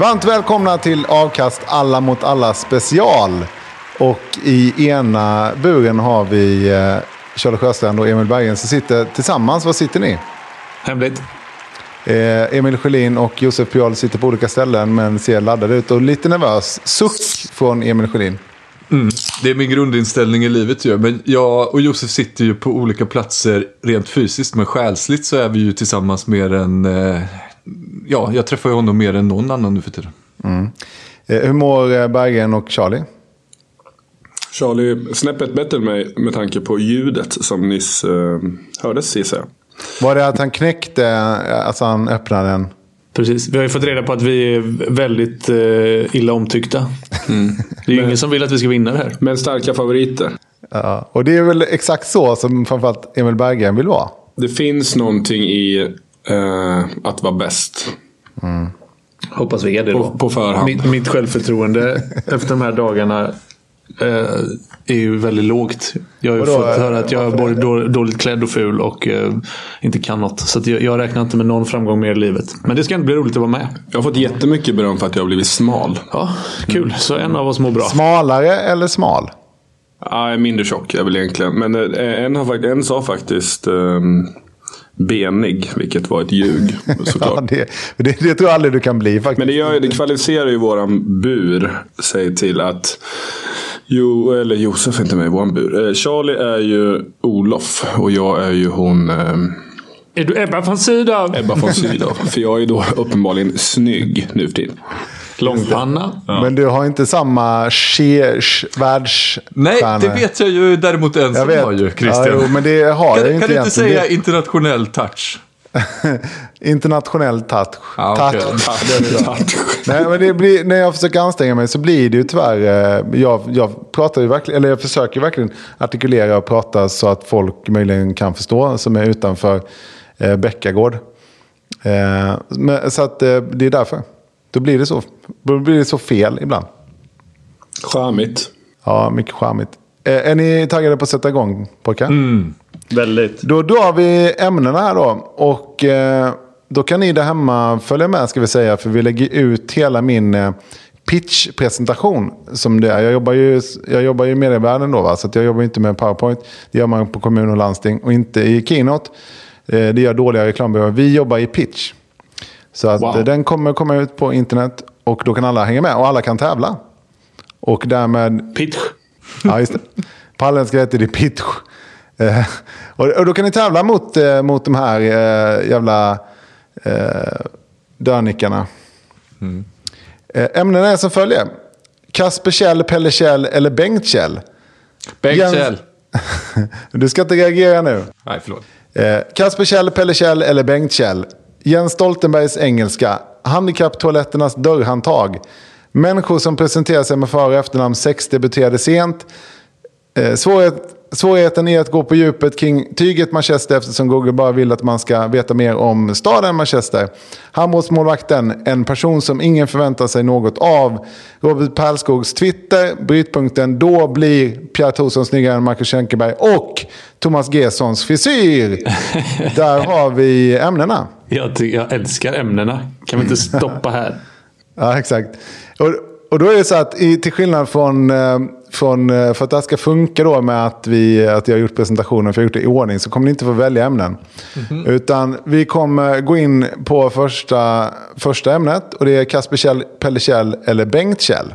Varmt välkomna till avkast alla mot alla special. Och i ena buren har vi eh, Charlotte Sjöstrand och Emil Berggren som sitter tillsammans. Var sitter ni? Hemligt. Eh, Emil Sjölin och Josef Pial sitter på olika ställen men ser laddade ut och lite nervös. Suck från Emil Sjölin. Det är min grundinställning i livet ju. Men jag och Josef sitter ju på olika platser rent fysiskt. Men själsligt så är vi ju tillsammans mer än... Eh, ja, jag träffar ju honom mer än någon annan nu för tiden. Eh, hur mår eh, Berggren och Charlie? Charlie, snäppet bättre än mig med tanke på ljudet som nyss eh, hördes gissar jag. Var det att han knäckte, eh, alltså han öppnade den? Precis. Vi har ju fått reda på att vi är väldigt eh, illa omtyckta. Det är ju ingen som vill att vi ska vinna det här. Men starka favoriter. Ja. Och det är väl exakt så som framförallt Emil Berggren vill vara. Det finns någonting i eh, att vara bäst. Hoppas vi är det På, på förhand. Mitt, mitt självförtroende efter de här dagarna eh, är ju väldigt lågt. Jag har ju Vadå, fått eh, höra att jag är varför både det? då- dåligt klädd och ful och eh, inte kan något. Så att jag, jag räknar inte med någon framgång mer i livet. Men det ska inte bli roligt att vara med. Jag har fått jättemycket beröm för att jag har blivit smal. Ja, kul. Mm. Så en av oss mår bra. Smalare eller smal? Ah, jag är mindre tjock är väl egentligen. Men eh, en, har, fakt- en sa faktiskt ehm, benig, vilket var ett ljug Ja, såklart. det, det, det tror jag aldrig du kan bli faktiskt. Men det, gör, ju- det kvalificerar ju våran bur sig till att... Jo, eller Josef, inte mig, våran bur. Eh, Charlie är ju Olof och jag är ju hon eh, Är du Ebba von Sydow? Ebba von Sydow. För jag är ju då uppenbarligen snygg nu för tiden. Långpanna. Men du har inte samma tjej- världsstjärna. Nej, det vet jag ju däremot en eh, jag som vet. har ju, Christian. Ja, jo, men det har jag kan ju inte kan du inte egentligen. säga internationell touch? Det- Internationell touch. Ja, okej. touch. Tack. Nej, men det blir, när jag försöker anstränga mig så blir det ju tyvärr... eh, Jag, jag, pratar ju verkligen, eller jag försöker verkligen artikulera och prata så att folk möjligen kan förstå som är utanför eh, Bäckagård. Eh, men, så att, eh, det är därför. Då blir det så, då blir det så fel ibland. Charmigt. Ja, mycket charmigt. Eh, är ni taggade på att sätta igång pojkar? Väldigt. Då drar vi ämnena här då. Och eh, då kan ni där hemma följa med ska vi säga. För vi lägger ut hela min eh, pitch-presentation. Som det är. Jag, jobbar ju, jag jobbar ju i medievärlden då. Va? Så att jag jobbar ju inte med PowerPoint. Det gör man på kommun och landsting. Och inte i Keynote. Eh, det gör dåliga reklambyråer. Vi jobbar i pitch. Så att Wow. eh, den kommer komma ut på internet. Och då kan alla hänga med. Och alla kan tävla. Och därmed Pitch. Ja, just det. Pallen ska heta det pitch. Eh, och, och då kan ni tävla mot, eh, mot de här eh, jävla eh, dörrnickarna. Eh, ämnena är som följer. Kasper Kjell, Pelle Kjell eller Bengt Kjell. Bengt Jens- Kjell. Du ska inte reagera nu. Nej, förlåt. Eh, Kasper Kjell, Pelle Kjell eller Bengt Kjell. Jens Stoltenbergs engelska. Handikapptoaletternas dörrhandtag. Människor som presenterar sig med för och efternamn. Sex debuterade sent. Eh, svårighet Svårigheten är att gå på djupet kring tyget Manchester eftersom Google bara vill att man ska veta mer om staden Manchester. Handbollsmålvakten, en person som ingen förväntar sig något av. Robert Pärlskogs Twitter, brytpunkten, då blir Pierre Thorsson snyggare än Marcus Schenkenberg och Thomas Gessons frisyr. Där har vi ämnena. Jag, ty- jag älskar ämnena. Kan vi inte stoppa här? Ja, exakt. Och, och då är det så att i, till skillnad från, eh, från... eh, För att det här ska funka då med att, vi, att jag har gjort presentationen, för jag har gjort det i ordning, så kommer ni inte få välja ämnen. Utan vi kommer gå in på första, första ämnet och det är Kasper Kjell, Pelle Kjell eller Bengt Kjell.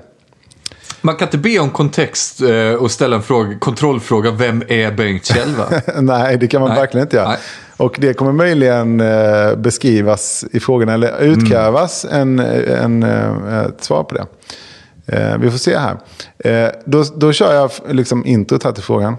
Man kan inte be om kontext eh, och ställa en fråga, kontrollfråga. Vem är Bengt Kjell va? Nej, det kan man Nej. verkligen inte göra. Nej. Och det kommer möjligen eh, beskrivas i frågorna eller Mm. utkrävas en, en, eh, ett svar på det. Eh, vi får se här. Eh, då, då kör jag f- liksom introt här till frågan.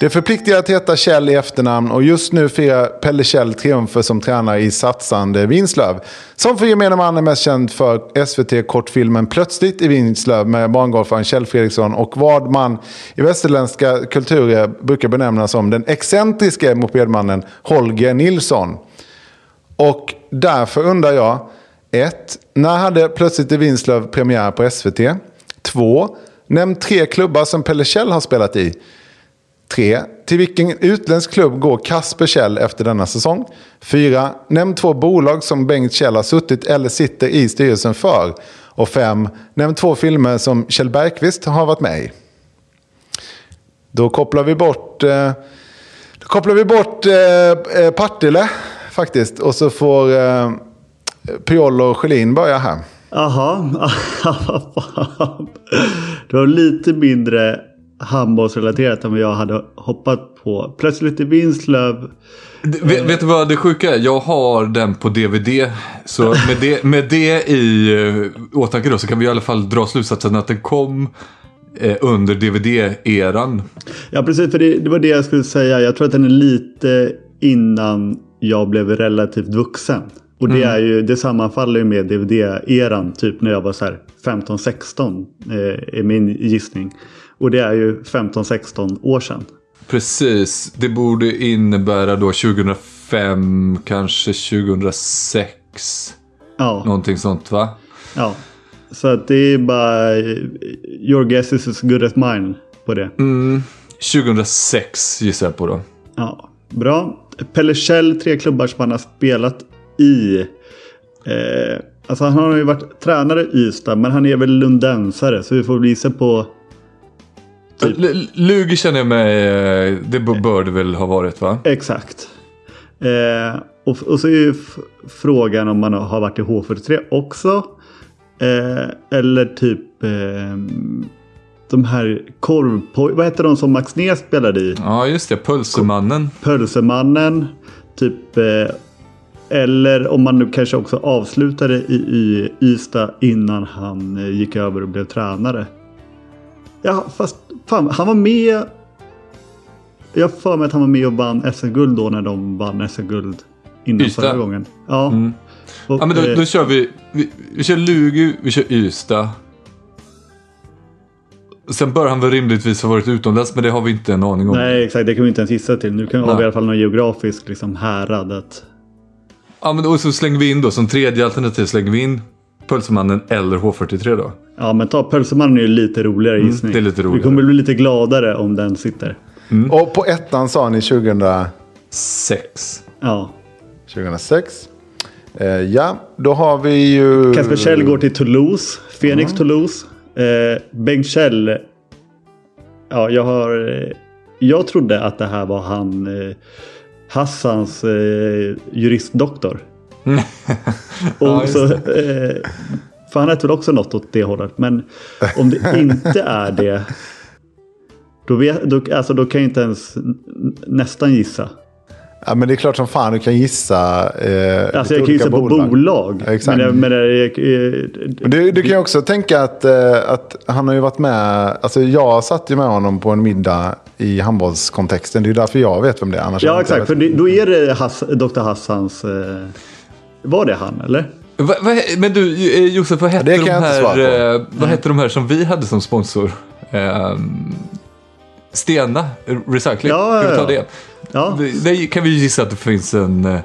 Det förpliktigar att heta Kjell i efternamn och just nu firar Pelle Kjell triumfer som tränare i satsande Vinslöv. Som för gemene man är mest känd för SVT-kortfilmen Plötsligt i Vinslöv med barngolfaren Kjell Fredriksson och vad man i västerländska kulturer brukar benämna som den excentriske mopedmannen Holger Nilsson. Och därför undrar jag, 1. När hade Plötsligt i Vinslöv premiär på SVT? 2. Nämn tre klubbar som Pelle Kjell har spelat i. 3. Till vilken utländsk klubb går Kasper Kjell efter denna säsong? 4. Nämn två bolag som Bengt Kjell har suttit eller sitter i styrelsen för. Och 5. Nämn två filmer som Kjell Bergqvist har varit med i. Då kopplar vi bort, eh, då kopplar vi bort eh, eh, Partille faktiskt. Och så får eh, Piolo och Schelin börja här. Jaha, vad fan. Det var lite mindre handbollsrelaterat än vad jag hade hoppat på. Plötsligt i Vinslöv. Vet, vet du vad det sjuka är? Jag har den på DVD. Så med det, med det i eh, åtanke då så kan vi i alla fall dra slutsatsen att den kom eh, under DVD-eran. Ja precis, för det, det var det jag skulle säga. Jag tror att den är lite innan jag blev relativt vuxen. Och det, är ju, det sammanfaller ju med DVD-eran, typ när jag var så här 15-16 eh, är min gissning. Och det är ju 15-16 år sedan. Precis. Det borde innebära då 2005, kanske 2006. Ja, Någonting sånt va? ja. Så att det är bara eh, your guess is as good as mine på det. 2006 gissar jag på då. Ja, bra. Pelle Kjell, tre klubbar som han har spelat i. Eh, alltså han har ju varit tränare i Ystad, men han är väl lundensare. Så vi får väl gissa på... Typ. L- Lugi känner jag mig... eh, Det b- bör det väl ha varit va? Exakt. Eh, och, och så är ju f- frågan om man har varit i H43 också. Eh, eller typ... Eh, de här korvpoj... Vad heter de som Max Nes spelade i? Ja just det, Pölsemannen. Pölsemannen. Typ, eh, eller om man nu kanske också avslutade i, i Ystad innan han eh, gick över och blev tränare. Ja, fast fan, han var med. Jag har för mig att han var med och vann SM-guld då när de vann SM-guld innan Ystad. Mm. förra gången. Ja. Och, Ja men då, eh, då kör vi, vi... Vi kör Lugi, vi kör Ystad. Sen bör han väl rimligtvis ha varit utomlands men det har vi inte en aning om. Nej, exakt. Det kan vi inte ens gissa till. Nu kan har vi Nej. i alla fall någon geografisk liksom, härad. Att, Ja men och så slänger vi in då, som tredje alternativ slänger vi in Pölsemannen eller H43 då. ja, men ta Pölsemannen är ju lite roligare gissning. Mm, det är lite Vi roligare. kommer bli lite gladare om den sitter. Och på ettan sa ni 2000... Sex. Ja. 2006. Eh, ja, då har vi ju... Kasper Kjell går till Toulouse. Phoenix Toulouse. Eh, Bengt Kjell. Ja, jag har... eh, Jag trodde att det här var han... Eh, Hassans eh, juristdoktor. Och Ja, just så, eh, för han hette väl också något åt det hållet. Men om det inte är det. Då, vet, då, alltså, då kan jag inte ens n- nästan gissa. Ja, men det är klart som fan du kan gissa. Eh, Alltså lite jag kan olika gissa på bolag. Exakt. Men, jag- men jag, eh, Men Du, du kan ju också tänka att, eh, att han har ju varit med. Alltså jag satt ju med honom på en middag i handbollskontexten. Det är därför jag vet vem det är. Annars hade Ja, jag exakt. För inte det, då är det Hass, Dr. Hassans... Eh, var det han, eller? Va, va, men du eh, Josef, vad hette det de kan jag inte här svara på. eh, Vad hette de här som vi hade som sponsor? Eh, Stena Recycling. Ja, Ska vi ta ja, ja. det? Ja. Vi- Det kan vi ju gissa att det finns en... eh,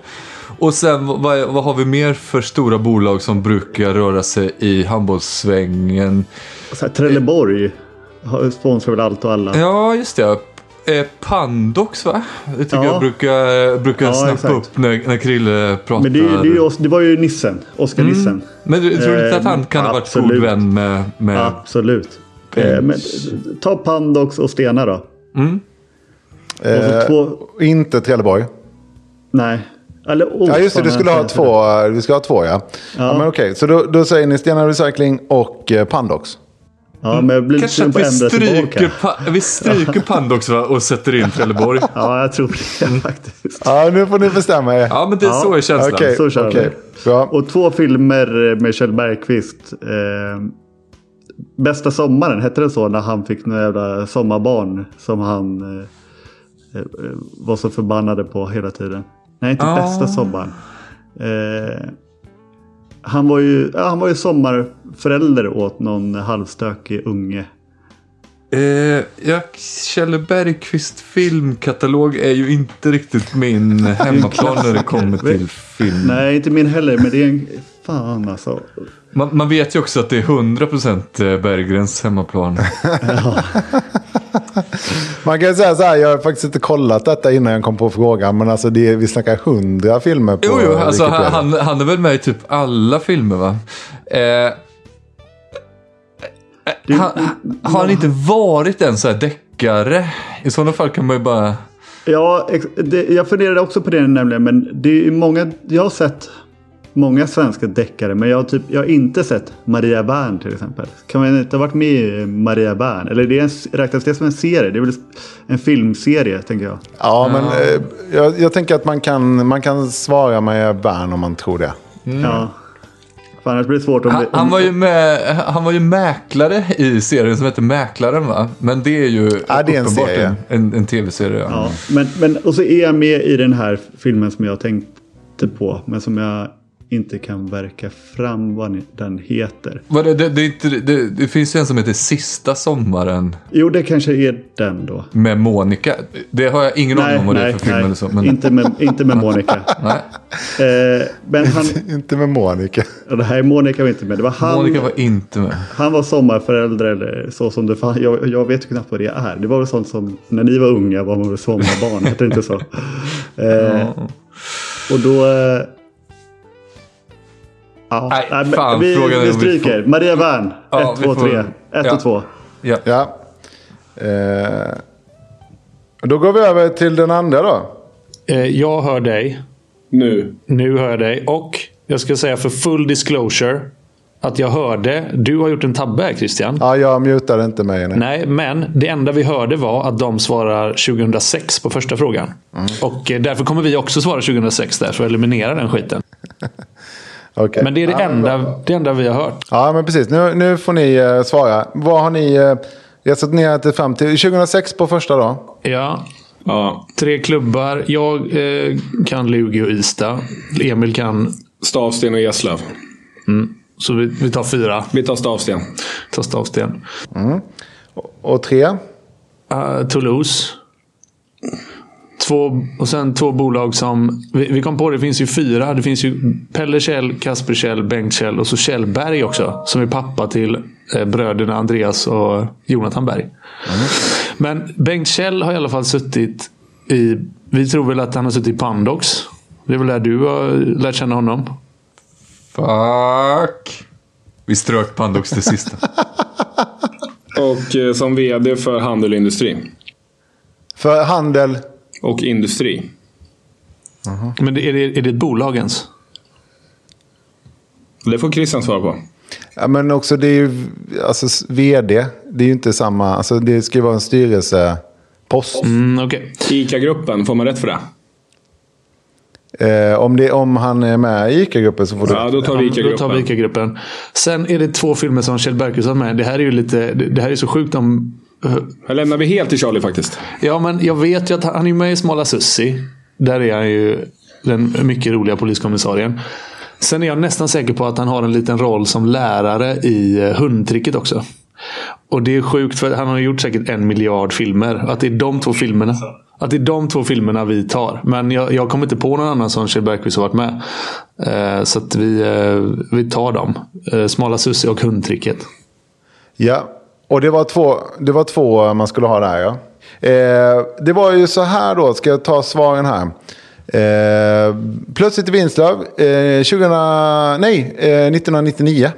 Och sen vad, vad har vi mer för stora bolag som brukar röra sig i handbollssvängen? Så här, Trelleborg har- sponsrar väl allt och alla. Ja, just det. Eh, Pandox va? Det tycker Ja. jag brukar, eh, brukar Ja, snappa exakt. upp när, när Krille pratar. Men det, är- det, är ju oss- det var ju nissen, Oskar Nissen. Mm. Men du, tror du inte Eh, att han kan ha varit god absolut. vän med... med... Absolut. Eh, men, ta Pandox och Stena då. Mm. Och så Eh, två... Inte Trelleborg. Nej. Eller Olsson, Ja, just det. Du skulle ha heter två, du skulle ha två ja. ja. men okej, så då, då säger ni Stena Recycling och eh, Pandox. Ja, men jag blir lite Kanske sugen att på vi att ändra stryker, tillbaka. pa- vi stryker Pandox va? och sätter in Trelleborg. Ja, jag tror det faktiskt. Ja, nu får ni bestämma er. Ja, men det är så är känslan. Okej, så kör okej. vi. Bra. Och två filmer eh, med Kjell Bergqvist. Eh, Bästa sommaren, hette den så? När han fick några jävla sommarbarn som han eh, eh, var så förbannade på hela tiden. Nej, inte bästa sommaren. Eh, han, var ju, ja, han var ju sommarförälder åt någon halvstökig unge. Eh, ja, Kjell Bergqvist filmkatalog är ju inte riktigt min hemmaplan när det kommer till film. Nej, inte min heller, men det är en... Fan alltså. Man, man vet ju också att det är 100% Berggrens hemmaplan. Man kan säga så här, jag har faktiskt inte kollat detta innan jag kom på frågan. Men alltså det, är- vi snackar hundra filmer på Jo, jo, alltså han, Wikipedia. han, han är väl med i typ alla filmer va? Eh, han, har han inte varit en så här deckare? I sådana fall kan man ju bara... Ja, ex- det, jag funderade också på det nämligen. Men det är många, jag har sett många svenska deckare. Men jag har, typ, jag har inte sett Maria Wern till exempel. Kan man inte ha varit med i Maria Wern? Eller det är en, räknas det som en serie? Det är väl en filmserie tänker jag. Ja, men eh, jag, jag tänker att man kan, man kan svara med Bern om man tror det. Ja. För annars blir det svårt om Han, det... Om, han, var ju med, han var ju mäklare i serien som heter Mäklaren va? Men det är ju Ja, det är en uppenbart serie. en, en, en tv-serie. Ja. ja, men, men, och så är jag med i den här filmen som jag tänkte på. Men som jag inte kan verka fram vad ni- den heter. Vad Det, det, det, är inte- det, det finns ju en som heter Sista sommaren Jo, det kanske är den då. med Monica. Det har jag ingen aning om vad det är för film eller så. Men, Inte, med, inte med Monica. nej. Eh, men han, Inte med Monica. ja, det här är Monica var inte med. Det var han, Monica var inte med. han var sommarförälder eller så som det fan. Jag, jag vet ju knappt vad det är. Det var väl sånt som när ni var unga var man väl sommarbarn. Hette det inte så? Eh, och då... eh, Ja, Nej, men fan, vi, frågan är vi om vi stryker. får- Maria Wern. Ja, 1, vi 2, får- 3. 1 ja. och 2. Ja. Ja. Eh, då går vi över till den andra då. Eh, jag hör dig. Nu. Nu hör jag dig. Och jag ska säga för full disclosure. Att jag hörde. Du har gjort en tabbe här Christian. Ja, jag mutade inte mig. Nej. Nej, men det enda vi hörde var att de svarar 2006 på första frågan. Mm. Och eh, därför kommer vi också svara 2006 där för att eliminera den skiten. Okej. Men det är det, ja, enda, det enda vi har hört. Ja, men precis. Nu, nu får ni eh, svara. Vad har ni eh, resonerat er fram till? 2006 på första då? Ja, Ja. tre klubbar. Jag eh, kan Lugi och Ista. Emil kan... Stavsten och Eslöv. Så vi, vi tar fyra. Vi tar Stavsten. Ta stavsten. Och tre? Eh, Toulouse. Två, och sen två bolag som... Vi, vi kom på det, finns ju fyra. Det finns ju Pelle Kjell, Kasper Kjell, Bengt Kjell och så Kjell Berg också. Som är pappa till eh, bröderna Andreas och Jonathan Berg. Mm. Men Bengt Kjell har i alla fall suttit i... Vi tror väl att han har suttit i Pandox. Det är väl där du har lärt känna honom. Fuck. Vi strök Pandox till sista. Och eh, som vd för handel och industri. För handel? Och industri. Men det, är, det, är det ett bolag ens? Det får Christian svara på. Ja, men också det är ju alltså, s- vd. Det är ju inte samma. Alltså, det ska ju vara en styrelsepost. Mm, Okej. ICA-gruppen, får man rätt för det? Eh, om, det, om han är med i ICA-gruppen så får du... Ja, då tar vi Ja, Då tar ICA-gruppen. vi ICA-gruppen. Sen är det två filmer som Kjell Bergqvist har med. Det här är ju lite... Det det här är så sjukt om... eh, Här lämnar vi helt till Charlie faktiskt. Ja, men jag vet ju att han han är med i Smala Sussi. Där är han ju den mycket roliga poliskommissarien. Sen är jag nästan säker på att han har en liten roll som lärare i eh, hundtricket också. Och det är sjukt för han har gjort säkert en miljard filmer. Att det är de två filmerna. Att det är de två filmerna vi tar. Men jag, jag kommer inte på någon annan som Kjell Bergqvist har varit med. Eh, så att vi, eh, vi tar dem. Eh, Smala Sussie och Hundtricket. Ja, och det var två, det var två eh, man skulle ha där ja. Eh, det var ju så här då, ska jag ta svaren här. Eh, plötsligt i Vinslöv, eh, 2000, nej, eh, 1999.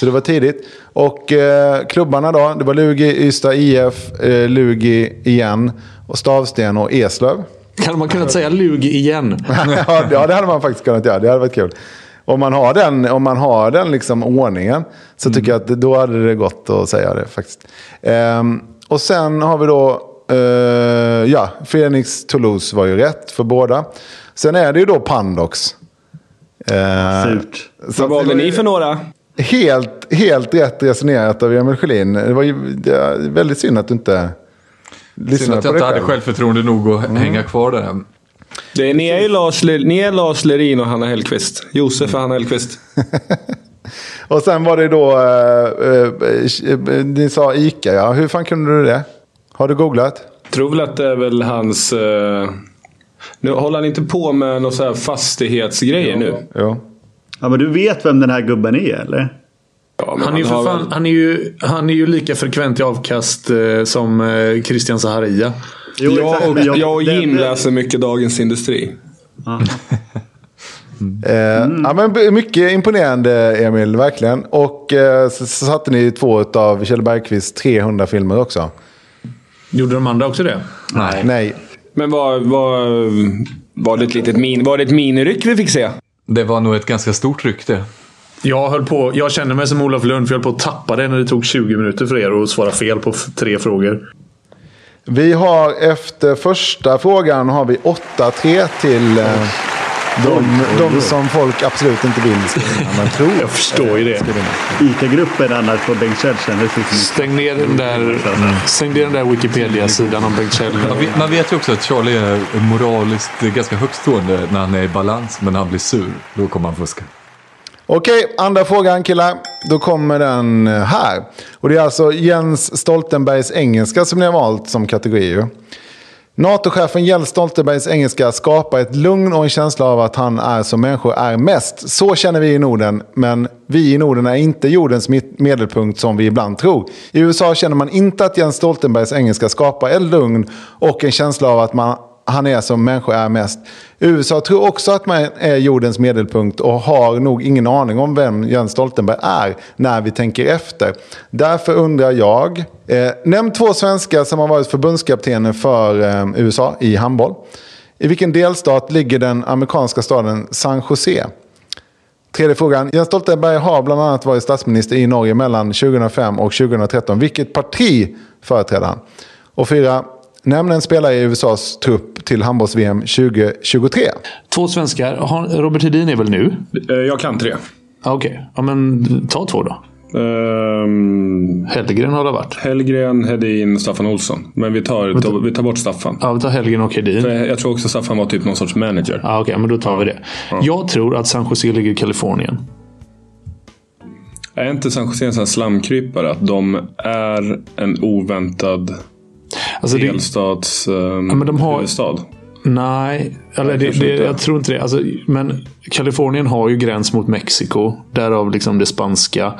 Så det var tidigt. Och eh, klubbarna då, det var Lugi, Ystad IF, eh, Lugi igen, och Stavsten och Eslöv. Kan man kunnat säga lug igen? ja, det- ja, det hade man faktiskt kunnat göra. Det hade varit kul. Om man har den, om man har den liksom ordningen så tycker jag att det- då hade det gått att säga det faktiskt. Ehm, och sen har vi då, eh, ja, Phoenix Toulouse var ju rätt för båda. Sen är det ju då Pandox. Eh, Surt. så Vad att valde det var ni ju för några? Helt, helt rätt resonerat av Emil Sjölin. Det var ju det är väldigt synd att du inte Synd lyssnade att på jag det inte hade själv. självförtroende nog att hänga kvar där. än. Det är, ni, är ju Lars, Le- ni är Lars Lerin och Hanna Hellquist. Josef och Hanna Hellquist. Och sen var det då, eh, eh, eh, ni sa ICA ja. Hur fan kunde du det? Har du googlat? Tror väl att det är väl hans... eh, nu Håller han inte på med någon så här fastighetsgrejer nu? Jo. Ja, men du vet vem den här gubben är eller? Ja, men Han är, ju för har fan, väl- han, är ju, han är ju lika frekvent i avkast eh, som eh, Christian Zaharia. Jo, jag, exakt, och, men jag och den- Jim läser mycket Dagens Industri. Eh, ja, men b- mycket imponerande Emil, verkligen. Och eh, så, så satte ni två av Kjell Bergqvists 300 filmer också. Gjorde de andra också det? Nej. Men var, var, var det ett litet min, var det ett miniryck vi fick se? Det var nog ett ganska stort ryck det. Jag, höll på, jag kände mig som Olof Lund för jag höll på att tappa det när det tog 20 minuter för er att svara fel på f- tre frågor. Vi har efter första frågan har vi 8-3 till eh, de, de som folk absolut inte vill ska vinna, men tror. Jag förstår ju det. Ica-gruppen annars på Bengt Kjell kändes det som Stäng ner den där, stäng ner den där Wikipedia-sidan om Bengt Kjell. Man vet, man vet ju också att Charlie är moraliskt ganska högtstående när han är i balans, men när han blir sur, då kommer han fuska. Okej, andra frågan killar. Då kommer den här. Och det är alltså Jens Stoltenbergs engelska som ni har valt som kategori. ju. NATO-chefen Jens Stoltenbergs engelska skapar ett lugn och en känsla av att han är som människor är mest. Så känner vi i Norden, men vi i Norden är inte jordens mitt- medelpunkt som vi ibland tror. I USA känner man inte att Jens Stoltenbergs engelska skapar ett lugn och en känsla av att man, han är som människor är mest. USA tror också att man är jordens medelpunkt och har nog ingen aning om vem Jens Stoltenberg är när vi tänker efter. Därför undrar jag, eh, nämn två svenskar som har varit förbundskaptener för eh, USA i handboll. I vilken delstat ligger den amerikanska staden San Jose? Tredje frågan. Jens Stoltenberg har bland annat varit statsminister i Norge mellan 2005 och 2013. Vilket parti företräder han? Och fyra. Nämn en spelare i USAs trupp till handbolls-VM 2023. Två svenskar. Har- Robert Hedin är väl nu? Eh, Jag kan tre. Ja, Okej, ja, men ta två då. Ehm, Hellgren har det varit. Hellgren, Hedin, Staffan Olsson. Men vi tar, vi tar bort Staffan. Ja, vi tar Hellgren och Hedin. Eh, Jag tror också Staffan var typ någon sorts manager. Ja, Okej, men då tar vi det. Jag tror att San Jose ligger i Kalifornien. Är inte San Jose en sån här slamkrypare? Att de är en oväntad Alltså det, delstats... ehm, men de har- huvudstad? nej, eller det, kanske det, inte. jag tror inte det. Alltså, men Kalifornien har ju gräns mot Mexiko. Därav liksom det spanska.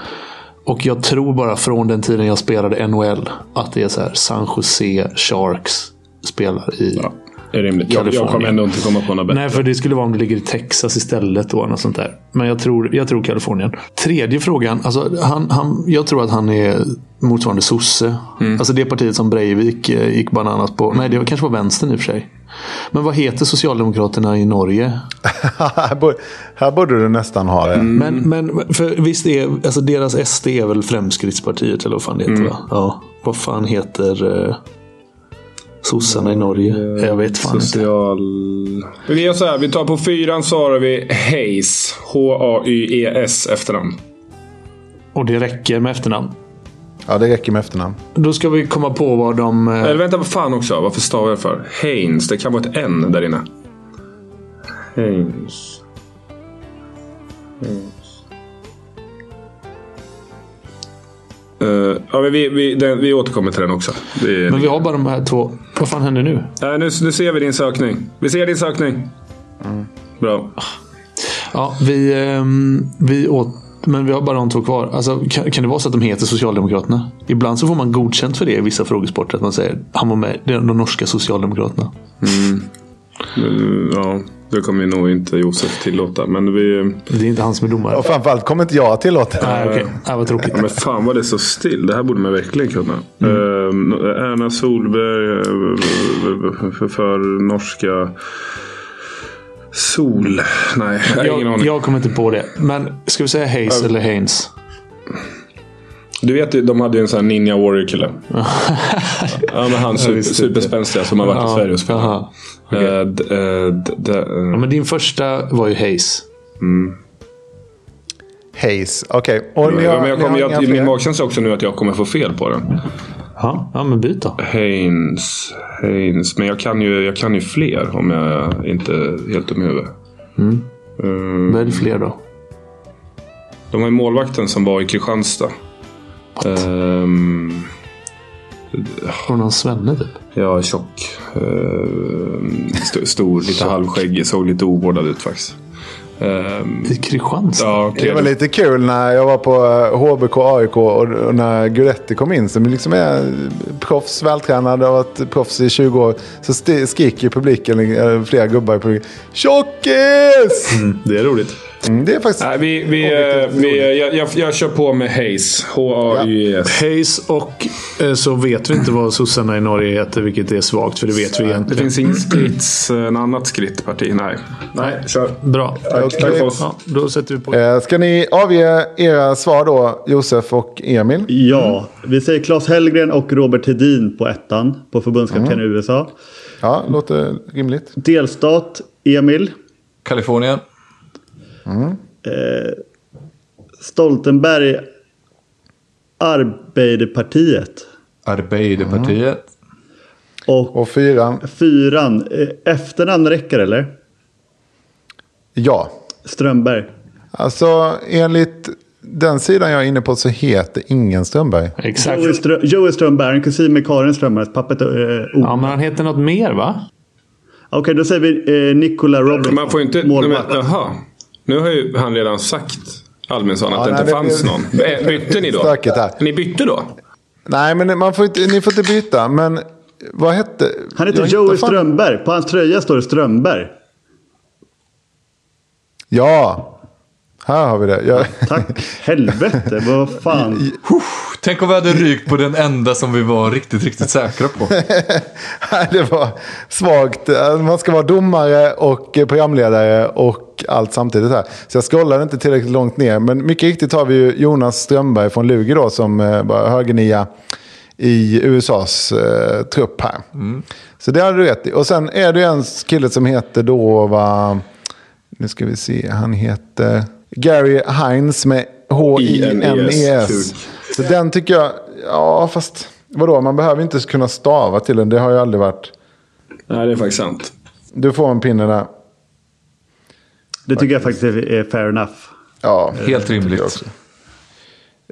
Och jag tror bara från den tiden jag spelade NHL att det är så här San Jose Sharks spelar i. Ja, det är rimligt. Jag, jag kommer Kalifornien. ändå inte komma på något bättre. Nej, för det skulle vara om det ligger i Texas istället. Och något sånt där. Men jag tror, jag tror Kalifornien. Tredje frågan. Alltså, han, han, jag tror att han är motsvarande sosse. Mm. Alltså det partiet som Breivik eh, gick bananas på. Nej, det var, kanske var vänstern i och för sig. Men vad heter Socialdemokraterna i Norge? här, borde, här borde du nästan ha det. Mm. Men, men för visst är alltså deras SD är väl Fremskrittspartiet eller vad fan det Mm. heter? Va? Ja. Vad fan heter eh, sossarna i Norge? Eh, Jag vet fan inte. Social... Vi gör så här. Vi tar på fyran så har vi Hayes. H-A-Y-E-S E efternamn. Och det räcker med efternamn. Ja, det räcker med efternamn. Då ska vi komma på vad de... eh, Eller vänta, vad fan också. Varför stavar jag för? Haynes. Det kan vara ett N där inne. Haynes. Haynes. Eh, Ja, men vi, vi, den, vi återkommer till den också. Det är- Men vi har bara de här två. Vad fan händer nu? Nej, nu, nu ser vi din sökning. Vi ser din sökning. Bra. Ja, vi, ehm, vi åt, men vi har bara de två kvar. Alltså, kan, kan det vara så att de heter Socialdemokraterna? Ibland så får man godkänt för det i vissa frågesporter. Att man säger han var med det är de norska Socialdemokraterna. Mm, Ja, det kommer ju nog inte Josef tillåta. Men vi... eh, Det är inte han som är domare. Och framförallt kommer inte jag tillåta det. Nej, okej. Nej, vad tråkigt. Ja, men fan vad det står still. Det här borde man verkligen kunna. Eh, Erna Solberg eh, för, för norska... Sol... Nej, jag har ingen Jag, aning. jag kommer inte på det. Men ska vi säga Hayes eller Haynes? Du vet ju, de hade ju en sån här Ninja Warrior-kille. ja, men han super, superspänstiga som har varit i Sverige och spelat. Jaha. Eh, d- eh, d- d- eh, Ja, men din första var ju Hayes. Hayes. Okej. Och ni Ja, har- men jag ni har kommer, inga jag, fler? min magkänsla är också nu att jag kommer få fel på den. Ja, ja men byt då. Haynes, Haynes. Men jag kan, ju, jag kan ju fler om jag inte är helt dum i huvudet. Mm. Välj fler då. De har ju målvakten som var i Kristianstad. Ehm, Har du någon svenne typ? ja, tjock. Ehm, st- stor, lite halvskäggig. Såg lite ovårdad ut faktiskt. Ehm, I Kristianstad? ja, okej. Det var lite kul när jag var på eh, HBK AIK och och när Guidetti kom in som liksom är proffs, vältränad och har varit proffs i 20 år. Så sti- skrek ju publiken, eh, flera gubbar i publiken. Tjockis! Det är roligt. Mm, det är faktiskt... Nej, vi, vi, eh, objektivt vi, roligt. eh, jag, jag, jag kör på med Hayes. H-A-Y-E-S. Hayes Och eh, så vet vi inte vad sossarna i Norge heter, vilket är svagt, för det vet vi Det egentligen. finns inget skrits, en annat skrittparti. Nej. Nej, kör. Bra. Tack, Okej. tack för oss. Ja, då sätter vi på. Eh, Ska ni avge era svar då, Josef och Emil? Ja, vi säger Claes Hellgren och Robert Hedin på ettan. På förbundskapten Mm. i USA. Ja, låter rimligt. Delstat Emil. Kalifornien. Eh, Stoltenberg Arbeiderpartiet. Arbeiderpartiet. Mm. Och Och fyran, fyran. eh, Efternamn räcker eller? ja. Strömberg. Alltså enligt den sidan jag är inne på så heter ingen Strömberg. Exakt. Joey, Strö- Joey Strömberg, han är kusin med Karin Strömbergs pappa. heter, Eh, O. Ja, men han heter något mer va? Okej, då säger vi eh, Nicola Robinson. Man får ju inte... nej, men, Målvakt. Jaha. Nu har ju han redan sagt, Alminsson, att Ja, det nej, inte det fanns blev- någon. Eh, Bytte ni då? Stökigt här. Ni bytte då? Nej, men man får inte, ni får inte byta. Men vad hette... Han heter jag Joey hittar fan- Strömberg. På hans tröja står det Strömberg. Ja, här har vi det. Jag, Tack. Helvete, vad fan. Tänk om vi hade rykt på den enda som vi var riktigt, riktigt säkra på. Nej, det var svagt. Äh, Man ska vara domare och programledare och allt samtidigt här. Så jag scrollade inte tillräckligt långt ner. Men mycket riktigt har vi ju Jonas Strömberg från Lugi då som eh, var högernia i USAs eh, trupp här. Mm. Så det hade du rätt i. Och sen är det ju en kille som heter då, va, nu ska vi se, han heter Gary Hines med H-I-N-E-S. E Så den tycker jag, ja fast vadå, man behöver inte kunna stava till den. Det har ju aldrig varit. Nej, det är faktiskt sant. Du får en pinne där. Det tycker jag faktiskt är är fair enough. Ja, Helt jag rimligt. också.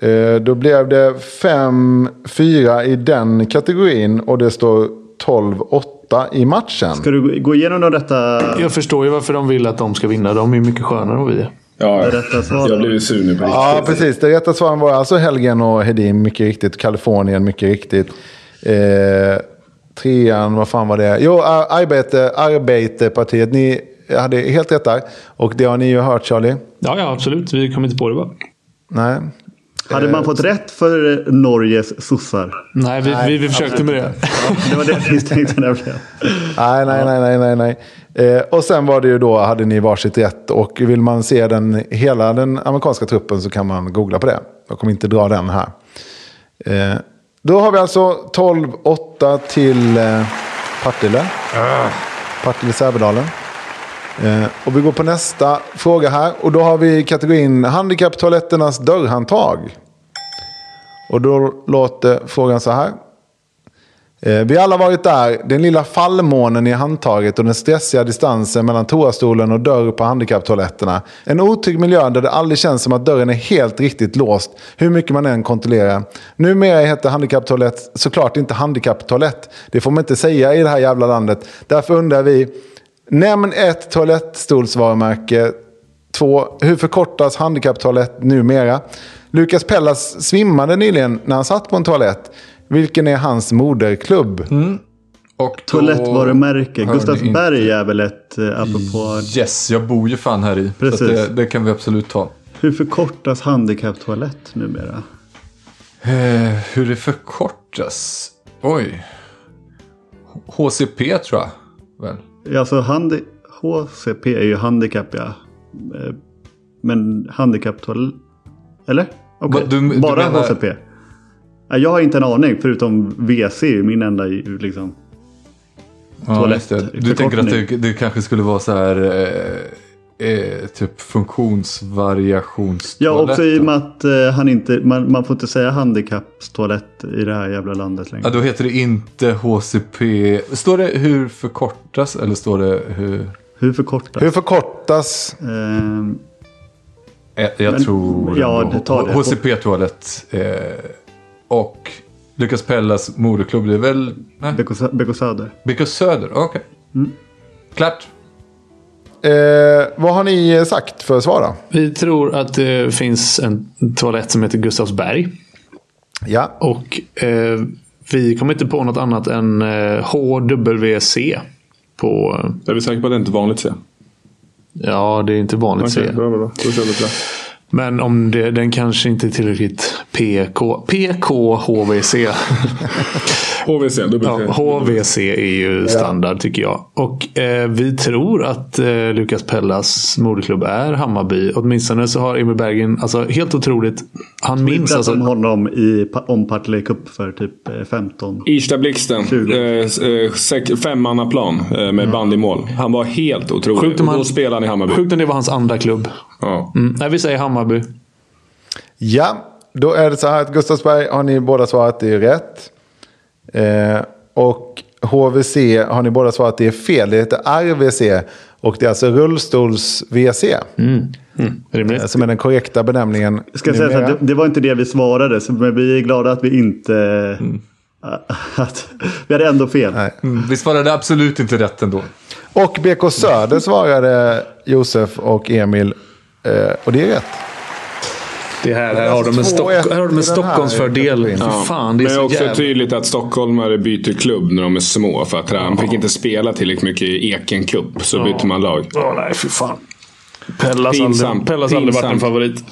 Eh, Då blev det 5-4 i den kategorin och det står 12-8 i matchen. Ska du gå igenom då detta, Jag förstår ju varför de vill att de ska vinna. De är ju mycket skönare än vad vi är. Ja, detta jag blev svar? ju sur nu på riktigt. Ja, precis. Det rätta svaren var alltså Helgen och Hedin, mycket riktigt. Kalifornien, mycket riktigt. Eh, trean, vad fan var det? Jo, Ar- arbete, Arbetepartiet. Ni hade helt rätt där. Och det har ni ju hört, Charlie. Ja, ja absolut. Vi kom inte på det va? Nej. Hade man fått rätt för eh, Norges sossar? Nej, vi, vi, vi försökte med det. Det var det jag misstänkte. nämligen. Nej, nej, nej, nej, nej, nej. Eh, och sen var det ju då, hade ni varsitt rätt. Och vill man se den, hela den amerikanska truppen så kan man googla på det. Jag kommer inte dra den här. Eh, då har vi alltså 12-8 till eh, Partille. Partille-Sävedalen. Eh, och vi går på nästa fråga här. Och då har vi kategorin handikapptoaletternas dörrhandtag. Och då låter frågan så här. Eh, Vi har alla varit där. Den lilla fallmånen i handtaget och den stressiga distansen mellan toastolen och dörr på handikapptoaletterna. En otrygg miljö där det aldrig känns som att dörren är helt riktigt låst, hur mycket man än kontrollerar. Numera heter handikapptoalett såklart inte handikapptoalett. Det får man inte säga i det här jävla landet. Därför undrar vi, nämn ett toalettstolsvarumärke Två, hur förkortas handikapptoalett numera? Lukas Pellas svimmade nyligen när han satt på en toalett. Vilken är hans moderklubb? Mm. Och då- Toalettvarumärke. hör ni inte. Gustavsberg är väl ett, eh, apropå... Yes, jag bor ju fan här i. Så Precis. att det, det kan vi absolut ta. Hur förkortas handikapptoalett numera? Eh, hur det förkortas? Oj. HCP tror jag. Väl. Alltså handi- HCP är ju handikapp ja. Eh, Men handikapptoalett... Eller? Okej, Vad, du- du Bara menar- HCP? Nej, Jag har inte en aning förutom WC är ju min enda liksom. Ja, just det. Du Toalettförkortning. tänker att det, det kanske skulle vara så här... Eh, eh, typ funktionsvariationstoalett. Ja, också i och då? med att eh, han inte, man, man får inte säga handikappstoalett i det här jävla landet längre. Ja, då heter det inte HCP. Står det hur förkortas eller står det hur? Hur förkortas? Hur förkortas? Ehm, Eh, Jag Men- tror ja, ändå det tar det. HCP-toalett. Eh, och Lukas Pellas moderklubb, det är väl... Nej, Beko- Beko Söder. Bickus Söder, okej. Mm. Klart. Eh, vad har ni eh, sagt för svar då? Vi tror att det finns en toalett som heter Gustavsberg. Ja, Och eh, vi kom inte på något annat än eh, HWC. På, eh, Är vi säkra på att det inte är vanligt C? ja, det är inte vanligt Okej, C. bra, bra, bra. Då kör vi på det. Men om det, den kanske inte är tillräckligt PK, PKHVC. HVC, dubbel ja, HVC är ju standard tycker jag. Och eh, vi tror att eh, Lukas Pellas moderklubb är Hammarby. Åtminstone så har Emil Bergen, alltså helt otroligt. Han minns Pratade alltså. om honom i pa- om Partille Cup för typ eh, 15. Irsta-Blixten. Tjugo. Eh, sek- Femmannaplan eh, med band i mål. Han var helt otrolig. Mm. Sjukt om Och Då han- spelade han i Hammarby. Sjukt om det var hans andra klubb. Ja. Mm, nej, vi säger Hammarby. ja. då är det så här att Gustavsberg har ni båda svarat det är rätt. Eh, och HVC har ni båda svarat det är fel. Det heter RVC och det är alltså rullstols-VC Rimligt. eh, som är den korrekta benämningen. Mm. Ska jag säga så numera. här, det, det var inte det vi svarade, så, men vi är glada att vi inte... Att, vi hade ändå fel. Mm, Vi svarade absolut inte rätt ändå. Och BK Söder svarade Josef och Emil. Eh, och det är rätt. Det här, här har de en, Stock, här har de en Stockholmsfördel. Fy fan, det är Men det är så också jävla... tydligt att stockholmare byter klubb när de är små. För att han fick inte spela tillräckligt mycket i Eken Cup, så byter man lag. Åh, nej, fy fan. Pellas aldrig, Pinsamt, Pellas aldrig varit en pinsamt. favorit.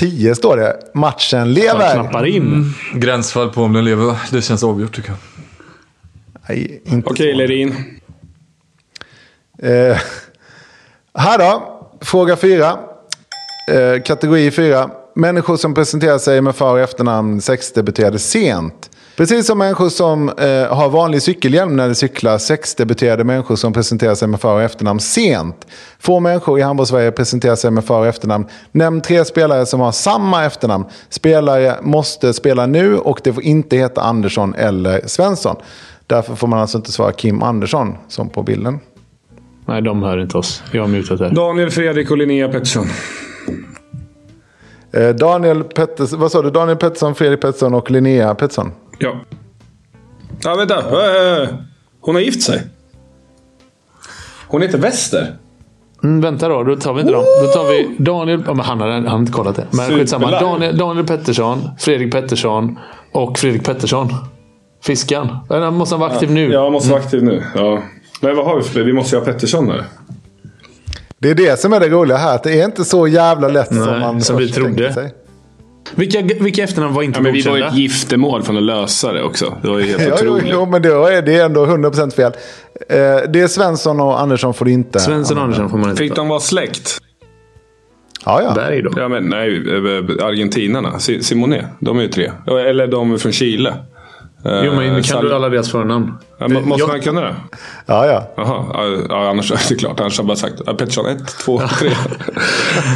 13-10 står det. Matchen Han lever. knappar in. Gränsfall på om den lever, va? det känns avgjort tycker jag. Nej, inte Okej, Lerin. Eh, här då, fråga fyra. Eh, kategori fyra. Människor som presenterar sig med för och efternamn sexdebuterade sent. Precis som människor som eh, har vanlig cykelhjälm när de cyklar, sexdebuterade människor som presenterar sig med för och efternamn sent. Få människor i handbolls-Sverige presenterar sig med för och efternamn. Nämn tre spelare som har samma efternamn. Spelare måste spela nu och det får inte heta Andersson eller Svensson. Därför får man alltså inte svara Kim Andersson, som på bilden. Nej, de hör inte oss. Jag har mutat här. Daniel Fredrik och Linnea Pettersson. Eh, Daniel Pettersson, vad sa du? Daniel Pettersson, Fredrik Pettersson och Linnea Pettersson. Ja. Ja, vänta. Eh, Hon har gift sig. Hon heter Wester. Mm, vänta då, då tar vi inte dem. Då tar vi Daniel... Ja, men han, har, han har inte kollat det. Men Superlarm. skitsamma. Daniel, Daniel Pettersson, Fredrik Pettersson och Fredrik Pettersson. Fiskan. Men han måste vara aktiv nu. Mm. Ja, jag måste vara aktiv nu. Ja. Men vad har vi för Vi måste ju ha Pettersson här. Det är det som är det roliga här. Att det är inte så jävla lätt som man som vi först trodde. tänker sig. Vilka, vilka efternamn var inte Ja, men vi var ju godkända? ett giftermål från att lösa det också. Det var ju helt Ja, jo, otroligt. jo, men det är, det är ändå 100% fel. Eh, det är Svensson och Andersson får du inte. Svensson Andersson får man inte Fick ta. de vara släkt? Ja, ja. Berg då? Ja, men nej. eh, eh, Argentinarna. Si- Simone. De är ju tre. Eller de är från Chile. Eh, Jo, men kan Sal- du alla deras förnamn? Ja, må- måste jag- man kunna det? Ja, ja. Jaha, ja, ja, annars är det klart. Annars har jag bara sagt ja, Pettersson 1, 2, 3.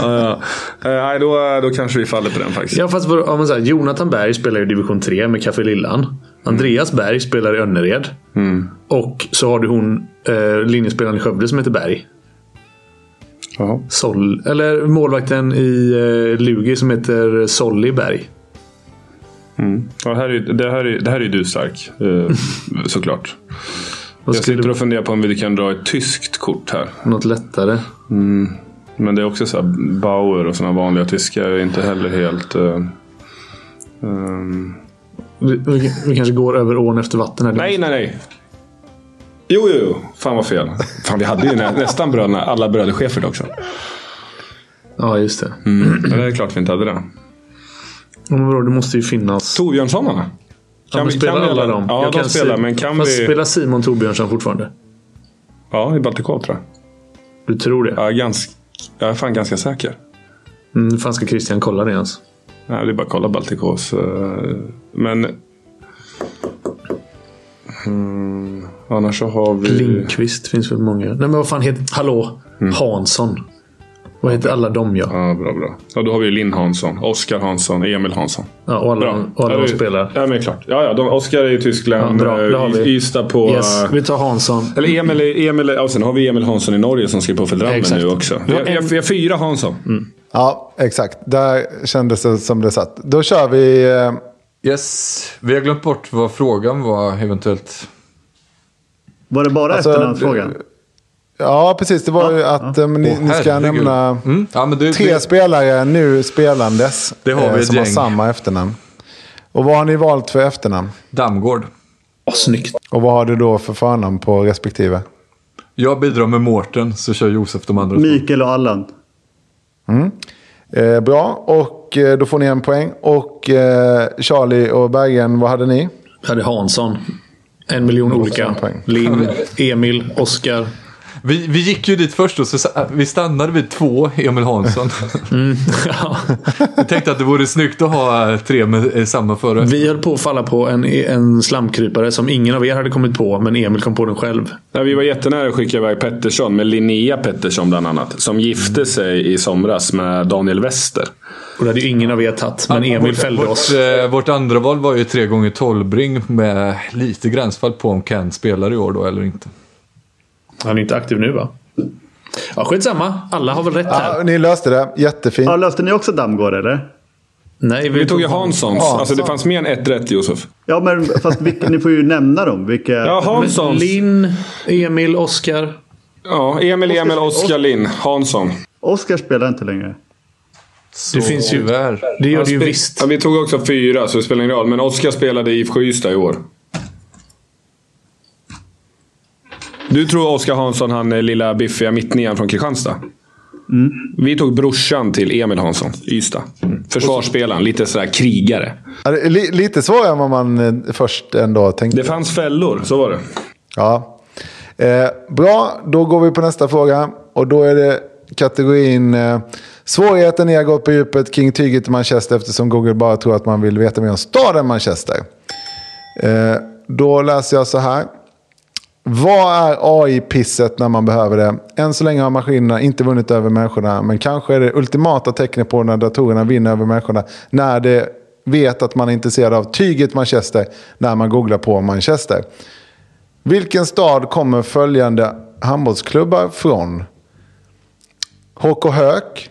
ja, ja. Eh, Nej, då, då kanske vi faller på den faktiskt. Ja, fast vad- om man säger, Jonathan Berg spelar i division 3 med Café Lillan. Andreas Berg spelar i Önnered. Mm. Och så har du hon, eh, linjespelaren i Skövde som heter Berg. Jaha. Sol, eller målvakten i eh, Lugi som heter Solly Berg. Ja, här är, det, här är, det här är du stark, eh, såklart. Vad Jag skulle sitter och funderar på om vi kan dra ett tyskt kort här. Något lättare. Men det är också så här, Bauer och sådana vanliga tyskar är inte heller helt... eh, ehm, Vi, vi, vi kanske går över ån efter vatten här. Nej, nej, nej. Jo, jo, jo. Fan vad fel. Fan, vi hade ju nä, nästan bröderna, alla bröderchefer också. Ja, just det. Men det är klart vi inte hade det. Ja, Men vadå, det måste ju finnas. Torbjörnssonarna. Kan ja, men spelar alla dem? Ja, Jag de kan se- spelar. Men kan Fast vi... spelar Simon Torbjörnsson fortfarande? Ja, i Baltikov tror jag. Du tror det? Jag är, ganska, jag är fan ganska säker. Mm, fan ska Christian kolla det ens? Nej, det är bara att kolla Baltikovs. eh, Men... Mm, annars så har vi... Lindqvist finns väl många. Nej men vad fan heter... Hallå! Hansson. Vad heter alla dem ja? Mm. Ja, bra, bra. Ja, då har vi Linn Hansson, Oskar Hansson, Emil Hansson. ja och alla, Bra. Mm, och alla Ja, de det- spelar. Ja, men klart. Ja, ja, de, Oskar är i Ja, Tyskland. bra. eh, Det har vi. I- Ystad på... Yes, vi tar Hansson. Eller Emil, är- Emil, ja, och sen har vi Emil Hansson i Norge som skrev på för Drammen Exakt. nu också. Vi Ja, har, vi har- vi har fyra Hansson. Ja, exakt. Där kändes det som det satt. Då kör vi... eh, Yes, vi har glömt bort vad frågan var eventuellt. Var det bara Alltså, efternamnsfrågan? Ja, precis. Det var ju att eh, ni, Åh, ni ska herregud. nämna Mm. Ja, men det, tre det, spelare nu spelandes. Det har vi eh, ett Som har gäng. samma efternamn. Och vad har ni valt för efternamn? Damgård. Åh, snyggt. Och vad har du då för förnamn på respektive? Jag bidrar med Mårten så kör Josef de andra. två. Mikael och Allan. Eh, bra, och eh, då får ni en poäng. Och eh, Charlie och Bergen, vad hade ni? Jag hade Hansson. En miljon olika. poäng. Linn, Emil, Oskar. Vi, vi gick ju dit först och så, sa- vi stannade vid två Emil Hansson. Ja. Jag tänkte att det vore snyggt att ha eh, tre med eh, samma före. Vi höll på att falla på en, en slamkrypare som ingen av er hade kommit på, men Emil kom på den själv. Nej, vi var jättenära att skicka iväg Pettersson med Linnea Pettersson bland annat. Som gifte sig i somras med Daniel Wester. Och det hade ju ingen av er tagit, men Ja, Emil vårt- fällde vårt, oss. eh, Vårt andra val var ju tre gånger tolvring med lite gränsfall på om Ken spelar i år då eller inte. Han är inte aktiv nu va? Ja, skitsamma. Alla har väl rätt här? Ja, ni löste det, jättefint. Ja, löste ni också Damgård eller? Nej, Vi tog ju Hanssons. Hansson. Alltså det fanns mer än ett rätt Josef. Ja, men fast vilka, ni får ju nämna dem. Vilka... Ja, Hanssons. Linn, Emil, Oskar. Ja, Emil, Emil, Oskar, Linn, Hansson. Oscar spelar inte längre. Så Det finns ju- tyvärr. Det gör Ja, det ju spe- visst. Ja, vi tog också fyra, så det spelar ingen roll. Men Oskar spelade i IFK Ystad i år. Du tror Oskar Hansson, han är lilla biffiga mittnian från Kristianstad? Vi tog brorsan till Emil Hansson, Ystad. Försvarsspelaren, lite sådär krigare. Ja, det är li- lite svårare än vad man eh, först ändå tänkte. Det fanns fällor, så var det. Ja. Eh, bra, då går vi på nästa fråga. Och då är det kategorin eh, svårigheten ni har gått på djupet kring tyget i Manchester eftersom Google bara tror att man vill veta mer om staden Manchester. Eh, då läser jag så här. Vad är AI-pisset när man behöver det? Än så länge har maskinerna inte vunnit över människorna, men kanske är det ultimata tecknet på när datorerna vinner över människorna när de vet att man är intresserad av tyget Manchester när man googlar på Manchester. Vilken stad kommer följande handbollsklubbar från? HK Höök.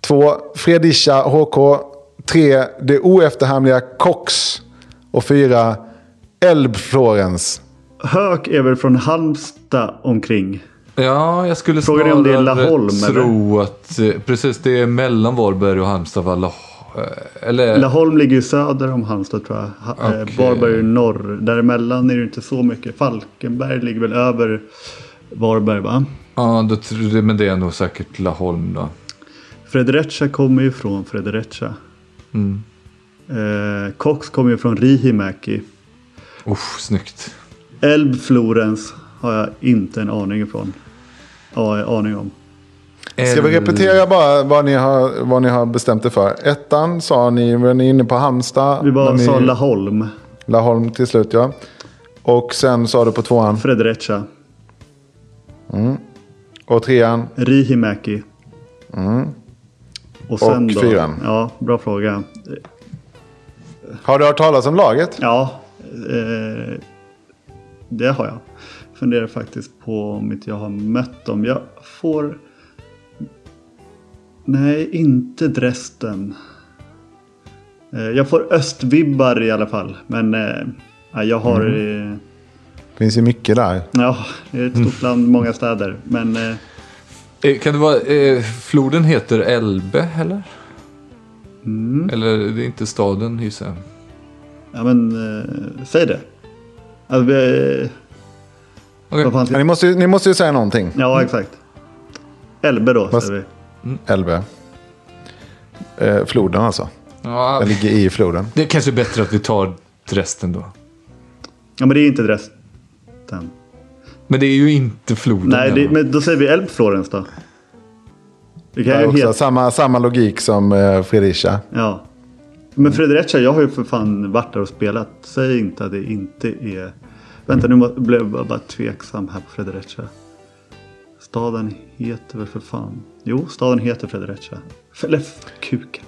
2. Fredisha HK. 3. Det oefterhamliga Cox. Och 4. Elb Florens. Höök är väl från Halmstad omkring. Ja, jag skulle Frågan är om det är Laholm, eller? tro att... eh, Precis, det är mellan Varberg och Halmstad va? Lah- eh, Eller... Laholm ligger ju söder om Halmstad tror jag. Ha- eh, Okej. Varberg är ju norr. Däremellan är det ju inte så mycket. Falkenberg ligger väl över Varberg va? Ja, då, tror jag- men det är nog säkert Laholm då. Fredreccia kommer ju från Fredreccia. Mm. Eh, Cox kommer ju från Rihimäki. Usch, snyggt. Elb Florens har jag inte en aning ifrån. Ja, aning om. Ska vi repetera bara vad ni har, vad ni har bestämt er för? Ettan sa ni, var ni inne på Halmstad? Vi när bara ni, sa Laholm. Laholm till slut ja. Och sen sa du på tvåan. Fredrecha. Och trean. Rihimäki. Och sen Mm. Och då? fyran. Ja, bra fråga. Har du hört talas om laget? Ja, eh, det har jag. Funderar faktiskt på om inte jag har mött dem. Jag får... Nej, inte Dresden. Eh, jag får östvibbar i alla fall. Men eh, ja, jag har... Mm. Eh, Finns ju mycket där. ja, det är ett stort land, många städer. Men eh, Eh, Kan det vara... Eh, floden heter Elbe, eller? Mm. Eller det är inte staden, gissar jag. Ja men eh, säg det. Alltså, vi, Okej. vad fan ska- Ni måste, ju- ni måste ju säga någonting. Ja exakt. Elbe då Vad- säger vi. Elbe. Eh, floden alltså. Ja, Den ligger i floden. det är kanske bättre att vi tar Dresden då. Ja men det är inte Dresden. Men det är ju inte floden. Nej det, eller? men då säger vi Elbflorens då. Det kan Det ju är också heta. samma, samma logik som eh, Fredricia. Ja. Men Fredricia jag har ju för fan varit där och spelat. Säg inte att det inte är. Vänta nu må- blev jag bara- bara tveksam här på Fredricia. Staden heter väl för fan. Jo staden heter Fredricia. Eller f- kuken.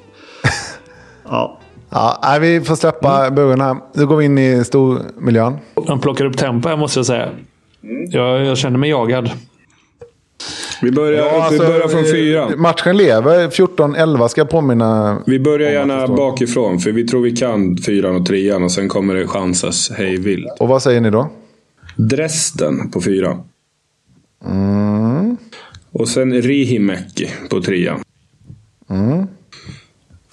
Ja. Ja, nej, vi får släppa buren här. Nu går vi in i stormiljön. Han plockar upp tempo här måste jag säga. Jag, jag känner mig jagad. Vi börjar, vi börjar från eh, fyran. Matchen lever. 14-11 ska jag påminna. Vi börjar gärna bakifrån, för vi tror vi kan fyran och trean och sen kommer det chansas hej vilt. Och vad säger ni då? Dresden på fyran. Och sen Rihimäki på trean.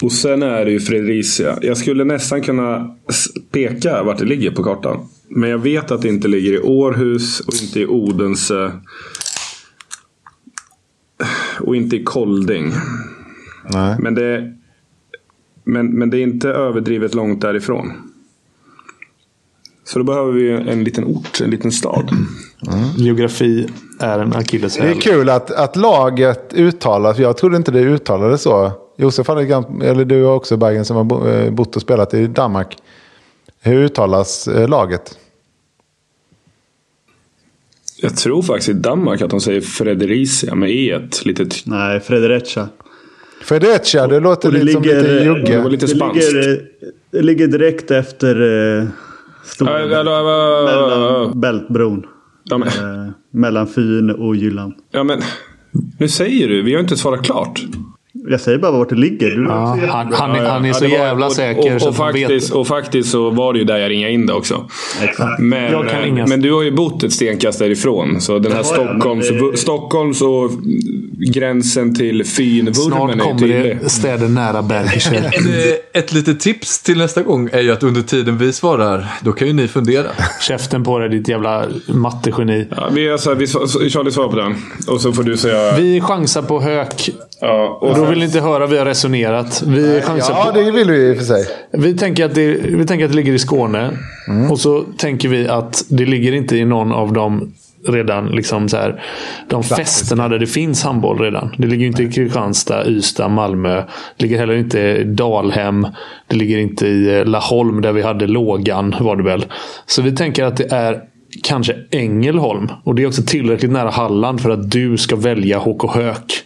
Och sen är det ju Fredricia. Jag skulle nästan kunna s- peka vart det ligger på kartan. Men jag vet att det inte ligger i Århus och inte i Odense. Och inte i Kolding. Nej. Men det, men, men det är inte överdrivet långt därifrån. Så då behöver vi en liten ort, en liten stad. Geografi är en Det akilleshäl. är kul att, att laget uttalas. Jag trodde inte det uttalades så. Josef hade, gam- eller du har också Bergen som har bo- eh, bott och spelat i Danmark. Hur uttalas eh, laget? Jag tror faktiskt i Danmark att de säger Fredericia med e lite t- Nej Fredricia. Fredricia, det låter Och det lite som lite eh, ligger- Det var jugge. lite det, spanskt. ligger, det ligger direkt efter eh, stora Ja, ja, ja, ja, mellan Bältbron. ja, men- Eh, mellan Fyn och Jylland. Ja, men... Nu säger du, vi har inte svarat klart. Jag säger bara vart det ligger. Du, Ja, han, han, är- han är Ja, så det var- jävla och- säker och, så och, att han faktiskt, vet. och faktiskt så var det ju där jag ringade in det också. Exakt. Men, eh, Jag kan inga- men du har ju bott ett stenkast därifrån. Så den här Ja, ja, men Stockholms, det- Stockholms och gränsen till Snart finvurmen är ju kommer tydlig. det städer nära Bergischer. Ett, Eh, ett litet tips till nästa gång är ju att under tiden vi svarar, då kan ju ni fundera. Käften på dig ditt jävla mattegeni. Ja, vi, gör så här, vi, svar- Charlie svarar på den. Och så får du säga... Vi chansar på hök. ja, och Och då vill ni inte höra vi har resonerat. Vi, chansar Ja, på, det vill vi i och för sig. vi, tänker att det, vi tänker att det ligger i Skåne. Och så tänker vi att det ligger inte i någon av de redan liksom så här, de fästena där det finns handboll redan. Det ligger ju inte i Kristianstad, Ystad, Malmö. Det ligger heller inte i Dalhem. Det ligger inte i eh, Laholm där vi hade lågan var det väl. Så vi tänker att det är kanske Ängelholm. Och det är också tillräckligt nära Halland för att du ska välja HK Höök.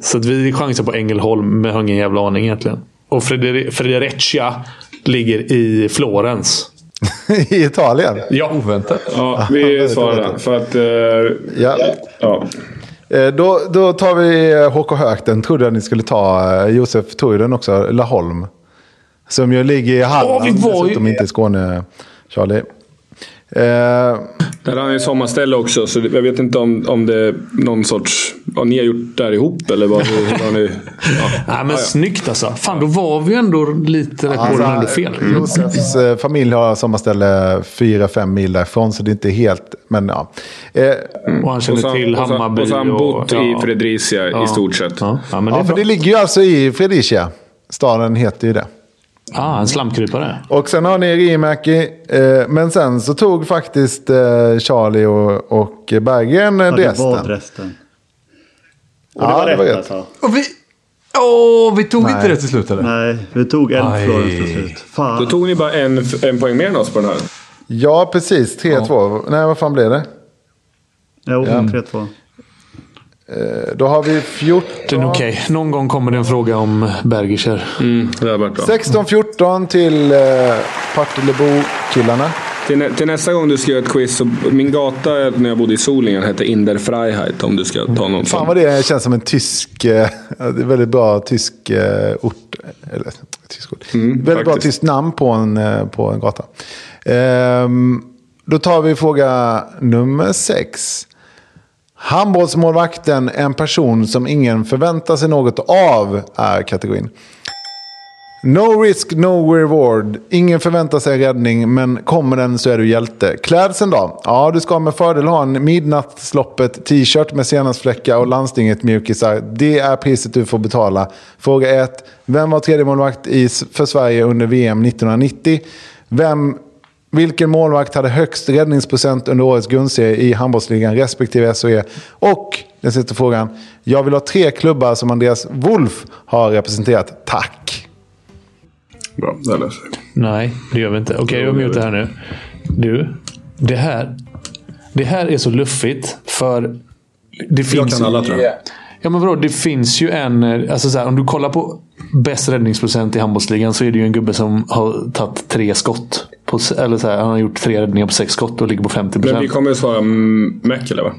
Så att vi chansar på Ängelholm, men har ingen jävla aning egentligen. Och Frederi- Fredericia ligger i Florens. I Italien. Ja. Oväntat. Ja, vi svarar den. För att... eh, Ja. ja. Eh, Då, då tar vi eh, HK Höök. Den trodde jag ni skulle ta. Eh, Josef tog ju den också. Laholm. Som ju ligger i Halland. Ja, vi var ju- dessutom inte i Skåne, Charlie. Eh, Där har ni sommarställe också, så jag vet inte om, om det är någon sorts... Vad ni har gjort där ihop eller vad, hur, hur har ni... Ja. Nej, men snyggt alltså. Fan, då var vi ändå lite rätt Alltså, på den ändå fel. Josefs eh, familj har sommarställe 4-5 mil därifrån. Så det är inte helt... Men ja. Eh, Och han känner Och så har- till och så- Hammarby. Och så har han bott ja. i Fredricia i stort sett. Ja, ja men det ja är för det bra. ligger ju alltså i Fredricia. Staden heter ju det. Ah, en slamkrypare. Och sen har ni Rimäki. Eh, men sen så tog faktiskt eh, Charlie och, och Berggren eh, ja, det var Dresden. Dresden. Och det var rätt alltså. Och vi, Åh, vi tog inte det till slut eller? Nej, vi tog en Aj. Florens till slut. Då Fan. tog ni bara en, en poäng mer än oss på den här. Ja, precis. 3-2. Nej, vad fan blev det? Jo, 3-2. Eh, Då har vi 14... Men okej, någon gång kommer det en fråga om Bergischer. Mm, Det har varit bra. 16-14 till eh, Partillebo-killarna. Till, nä- till nästa gång du ska göra ett quiz. Så min gata när jag bodde i Solingen hette Inderfreiheit. Om du ska ta någon Fan sån. vad det känns som en tysk... Eh, det är väldigt bra tysk eh, ort. Eller, tysk ort. väldigt bra faktiskt. tyskt namn på en, eh, på en gata. Ehm, då tar vi fråga nummer sex. Handbollsmålvakten, en person som ingen förväntar sig något av, är kategorin. No risk, no reward. Ingen förväntar sig räddning, men kommer den så är du hjälte. Klädseln då? Ja, du ska med fördel ha en midnattsloppet t-shirt med senapsfläckar och landstinget mjukisar. Det är priset du får betala. Fråga 1. Vem var tredje målvakt i, för Sverige under VM 1990? Vem, vilken målvakt hade högst räddningsprocent under årets grundserie i handbollsligan respektive SHE? Och den sista frågan. Jag vill ha tre klubbar som Andreas Wolf har representerat. Tack! Bra, det löser vi. Nej, det gör vi inte. Okej, jag mutar här nu. Du, det här. Det här är så luffigt. För det finns... Jag kan alla tror jag. Ja, men vadå? Det finns ju en... eh, Alltså så här, om du kollar på bäst räddningsprocent i handbollsligan så är det ju en gubbe som har tagit tre skott. På, s- eller så här, han har gjort tre räddningar på sex skott och ligger på 50 Men vi procent. kommer att svara mm, Mäkelä va?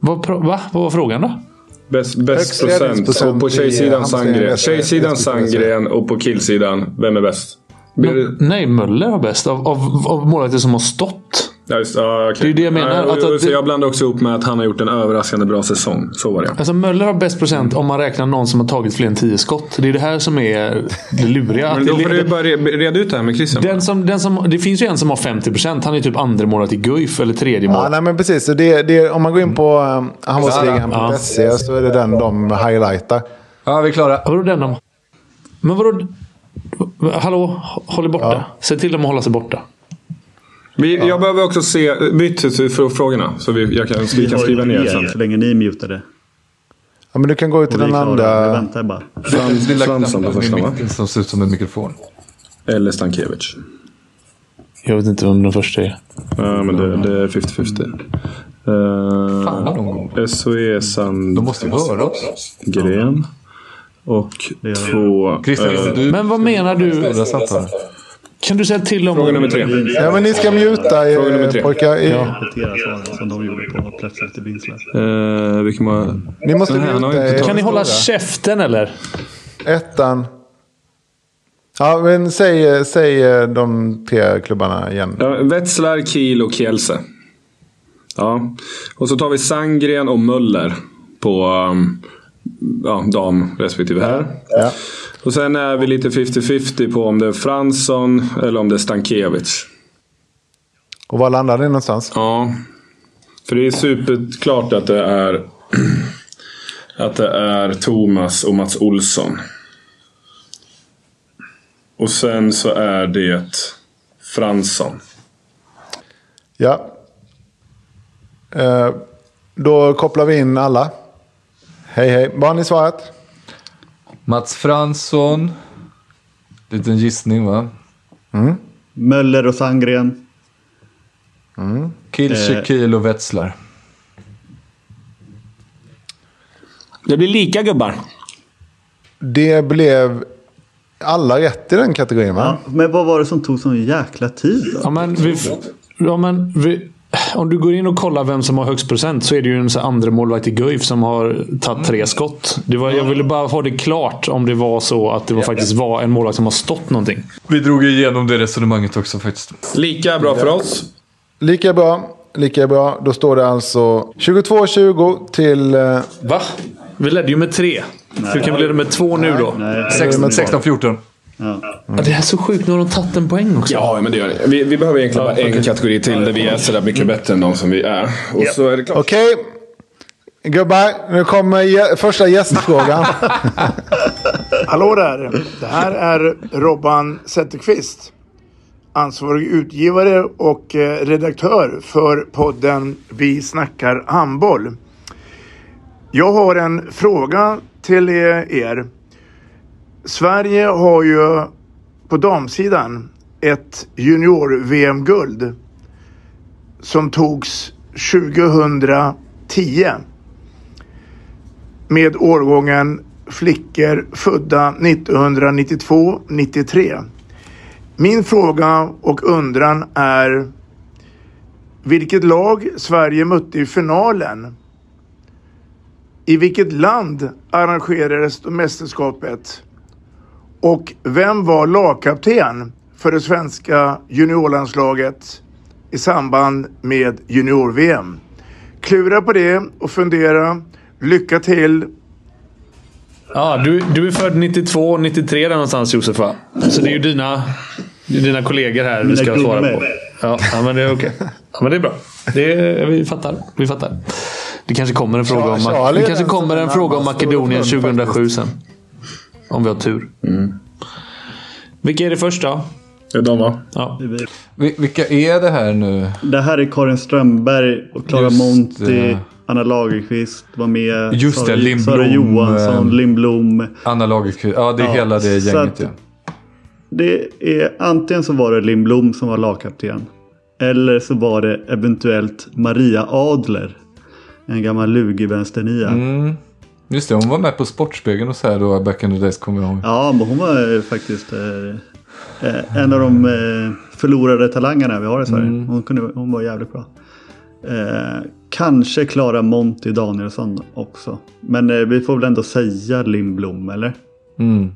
Vad, pro- va? Vad var frågan då? Bäst, Högst bäst procent. räddningsprocent Och på i tjejsidan hamstring- Sandgren. Tjejsidan respektive- Sandgren och på killsidan, vem är bäst? Blir det- Nej, Möller har bäst. Av, av, av målvakter som har stått. Ja, just, ja, okej. Det är ju det jag menar, Ja, och- att- att så det- jag blandar också ihop med att han har gjort en överraskande bra säsong. Så var det. Alltså Möller har bäst procent om man räknar någon som har tagit fler än 10 skott. Det är det här som är det luriga. Men då Det- får du bara re- reda ut det här med Christian. den som, den som, det finns ju en som har 50 procent. Han är typ andra målet i Guif eller tredje Ja, målet. nej, men precis. Så Det, det, om man Mm. går in på um, handbollsligan.se så är det den de highlightar. Ja, vi är klara. Vadå den om? Men vadå? Hallå? Håll er borta. Säg till dem att hålla sig borta. Vi, Jag behöver också se byt ut för frågorna. Så vi, jag kan, vi Vi kan har ju skriva ner er så sen. länge ni mutade. Ja, men du kan gå ut till Och vi är den klara. Vi andra. väntar bara. Svans, Lilla svansen på knappen första i va? mitten Som ser ut som en mikrofon. Eller Stankiewicz. Jag vet inte vem den första är. Ja, men det, det är 50-50. vad de Uh, SOE De måste ju höra oss. Sandgren. Och gör de. två... Eh, Christian, visste du? Men vad menar du? Stora samtal. Kan du säga till dem? Fråga nummer tre. Ja, men ni ska mjuta Fråga nummer er tre. pojkar. I- Repetera svaren som de gjorde på plötsligt i Vinslöv. Uh, vilken var... Ni måste Nej, han har mjuta er. inte tagit- Kan ni hålla Stora. käften eller? Ettan. Ja, men säg, eh, säg eh, de tre klubbarna igen. Ja, Wetzlar, Kiel och Kielse. Ja. Och så tar vi Sandgren och Möller på um, ja, dam respektive här. Ja. Och sen är vi lite 50-50 på om det är Fransson eller om det är Stankiewicz. Och var landar ni någonstans? Ja. För det är superklart att det är att det är Thomas och Mats Olsson. Och sen så är det Fransson. Ja. Eh, Då kopplar vi in alla. Hej, hej. Vad har ni svarat? Mats Fransson. Liten gissning va? Möller och Sandgren. Kilche, Eh. Kiel och Wetzlar. Det blir lika gubbar. Det blev alla rätt i den kategorin, va? Ja, men vad var det som tog sån jäkla tid då? Ja, men vi, ja, men vi, om du går in och kollar vem som har högst procent så är det ju en sån här andra målvakt i Guif som har tagit Mm. tre skott. Det var, jag ville bara ha det klart om det var så att det var, faktiskt var en målvakt som har stått någonting. Vi drog igenom det resonemanget också faktiskt. Lika bra för oss. Lika bra. Lika bra. Då står det alltså 22-20 till... eh, Va? Vi ledde ju med tre. Hur kan vi leda med två nu då? Nej, 16-14. Ja, Det är så sjukt. Nu har de tagit en poäng också. Ja, men det gör det. Vi, vi behöver egentligen bara en kategori till där vi är sådär mycket bättre än de som vi är. Och så är det klart. Okej. Gubbar, nu kommer gä- första gästfrågan. Hallå där! Det här är Robban Zetterqvist. Ansvarig utgivare och eh, redaktör för podden Vi snackar handboll. Jag har en fråga till er. Sverige har ju på damsidan ett junior-VM-guld som togs 2010 med årgången flickor födda 1992-93. Min fråga och undran är vilket lag Sverige mötte i finalen? I vilket land arrangerades då mästerskapet? Och vem var lagkapten för det svenska juniorlandslaget i samband med junior-VM? Klura på det och fundera. Lycka till! Ja, du, du är född 92, 93 där någonstans Josef va? Så det är ju dina, det är dina kollegor här vi Mina ska svara gummor. på. Ja, ja, men det är okej. Ja, men det är bra. Det är, vi fattar. Vi fattar. Det kanske kommer en fråga om, Ma- Charlie det är kanske den kommer som en är fråga om närmast Makedonien Öresund 2007 sen. Om vi har tur. Vilka är det först då? Det är de va? Ja. Vi- Vilka är det här nu? Det här är Karin Strömberg och Klara Just Monti. det. Anna Lagerqvist var med. Just det, Sara, Lindblom, Sara Johansson, eh, Lindblom. Anna Lagerkvist. Ja, det är Ja, hela det så gänget. att- Ja. Det är antingen så var det Lindblom som var lagkapten. Eller så var det eventuellt Maria Adler. En gammal lugig vänsternia. Mm. Just det, hon var med på Sportspegeln och så här då, back in the days, kommer jag ihåg. Ja, men hon var eh, faktiskt eh, eh, en av de eh, förlorade talangerna vi har i Sverige. Hon, kunde, hon var jävligt bra. Eh, kanske Klara Monty Danielsson också. Men eh, vi får väl ändå säga Lindblom, eller? Mm.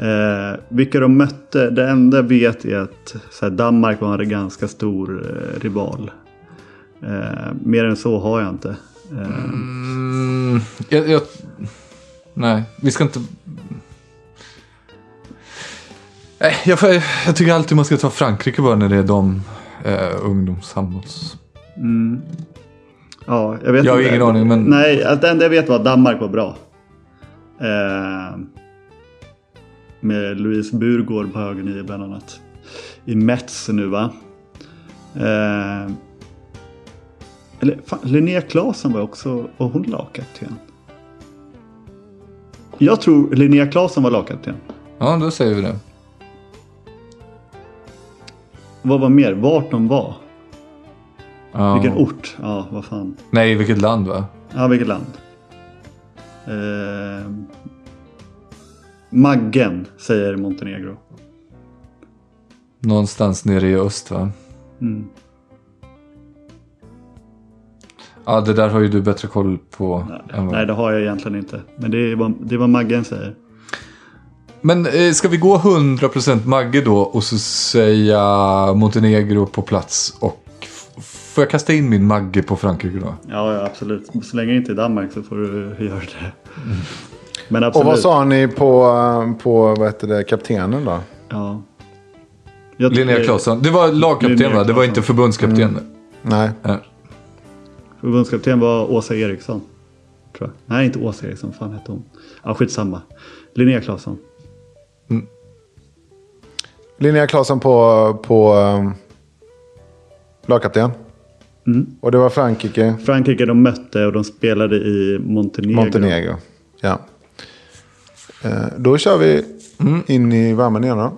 Eh, vilka de mötte, det enda jag vet är att så här, Danmark var en ganska stor eh, rival. Eh, mer än så har jag inte. Eh, Mm, jag, jag, nej, vi ska inte... Nej, jag, får- jag tycker alltid man ska ta Frankrike bara när det är de eh, ungdomshandbolls... Ja, jag vet Jag har inte. ingen aning, men- Nej, att det enda jag vet var att Danmark var bra. Eh, med Louise Burgård på höger nio bland annat. I Metz nu va? Eh, eller fan, Linnea Claesson var också, och hon lagkapten? Jag tror Linnea Claesson var lagkapten. Ja, då säger vi det. Vad var mer? Vart de var? Ja. Vilken ort? Ja, vad fan. Nej, vilket land va? Ja, vilket land? Eh, Maggen, säger Montenegro. Någonstans nere i öst va? Mm. Ja, det där har ju du bättre koll på än vad Nej, det har jag egentligen inte. Men det är vad, det är vad Maggen säger. Men eh, ska vi gå 100% Magge då och så säga Montenegro på plats och... f- Får jag kasta in min Magge på Frankrike då? Ja, ja, absolut. Så länge det inte är Danmark så får du göra det. Men Mm. Och absolut. vad sa ni på, eh, på vad heter det, kaptenen då? Ja. Jag Linnea tycker- Claesson. Det var lagkapten Linnea va? Det var Claesson. Mm. inte förbundskapten. Eh, Nej. Nej. Förbundskapten var Åsa Eriksson. Tror jag. Nej, inte Åsa Eriksson. fan hette hon? Ja, skitsamma. Linnea Claesson. Linnea Claesson på, på um, lagkapten. Och det var Frankrike, Frankrike de mötte och de spelade i Montenegro. Montenegro. Ja. Eh, Då kör vi in i värmen igen då.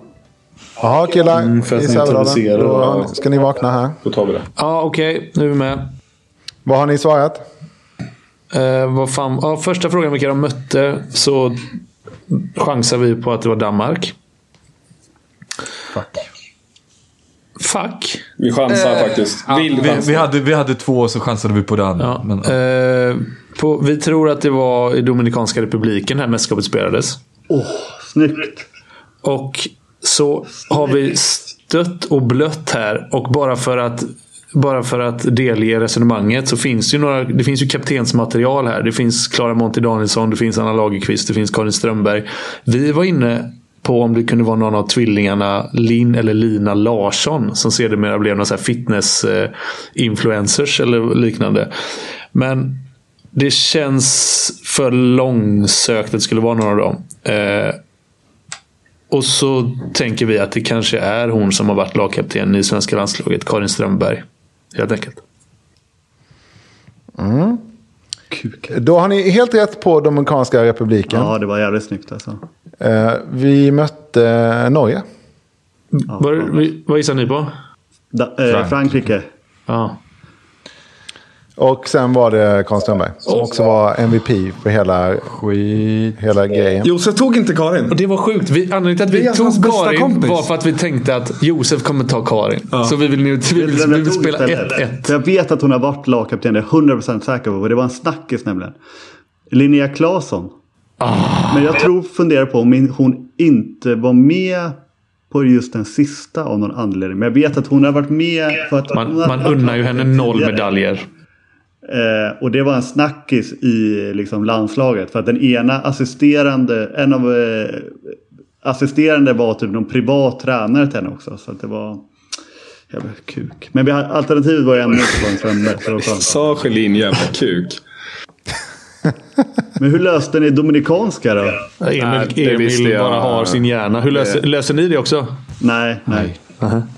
Jaha killar, för att i neutralisera Sävedalen. Då då. har ni- ska ni vakna här. Då tar vi det. Ja, okej. Nu är vi med. Vad har ni svarat? Eh, vad fan? Ja, första frågan vilka de mötte så chansar vi på att det var Danmark. Fuck. Fuck? Vi chansar faktiskt. Vill Vi, chansa. vi, hade, vi hade två och så chansade vi på det andra. Ja. Men, Eh, på, vi tror att det var i Dominikanska republiken här mästerskapet spelades. Snyggt. Och så har vi stött och blött här. Och bara för att, bara för att delge resonemanget så finns det ju, några, det finns ju kaptensmaterial här. Det finns Klara Monti Danielsson, det finns Anna Lagerqvist, det finns Karin Strömberg. Vi var inne på om det kunde vara någon av tvillingarna Linn eller Lina Larsson som sedermera blev någon så här fitness-influencers eller liknande. Men det känns för långsökt att det skulle vara någon av dem. Eh, och så tänker vi att det kanske är hon som har varit lagkapten i svenska landslaget, Karin Strömberg. Helt enkelt. Då har ni helt rätt på Dominikanska republiken. Ja, det var jävligt snyggt alltså. Eh, vi mötte Norge. Mm. Vad, vad gissar ni på? Da, eh, Frankrike. Ja. Och sen var det Karl Strömberg. Som också var MVP för hela, hela grejen. Josef tog inte Karin. Och det var sjukt. Vi, anledningen till att Det vi är hans tog bästa Karin kompis. var för att vi tänkte att Josef kommer ta Karin. Så vi vill, nu, vi vill, liksom vi vill spela 1-1. För jag vet att hon har varit lagkapten. Det är jag 100% säker på. Det var en snackis nämligen. Linnea Claesson. Ah. Men jag tror, funderar på om in- hon inte var med på just den sista av någon anledning. Men jag vet att hon har varit med för att... Man, hon har man varit unnar ju henne lagkapten noll tidigare. medaljer. Eh, och det var en snackis i liksom, landslaget. För att den ena assisterande, en av eh, assisterande var typ någon privat tränare till henne också. Så att det var... Jävla kuk. Men vi hade, alternativet var ju ändå inte Karin Strömberg. Så det var skönt. Sa Schelin jävla kuk. Men hur löste ni dominikanska då? Nej, Emil, det visste Emil jag. bara har sin hjärna. Hur löser, löser ni det också? Nej, nej.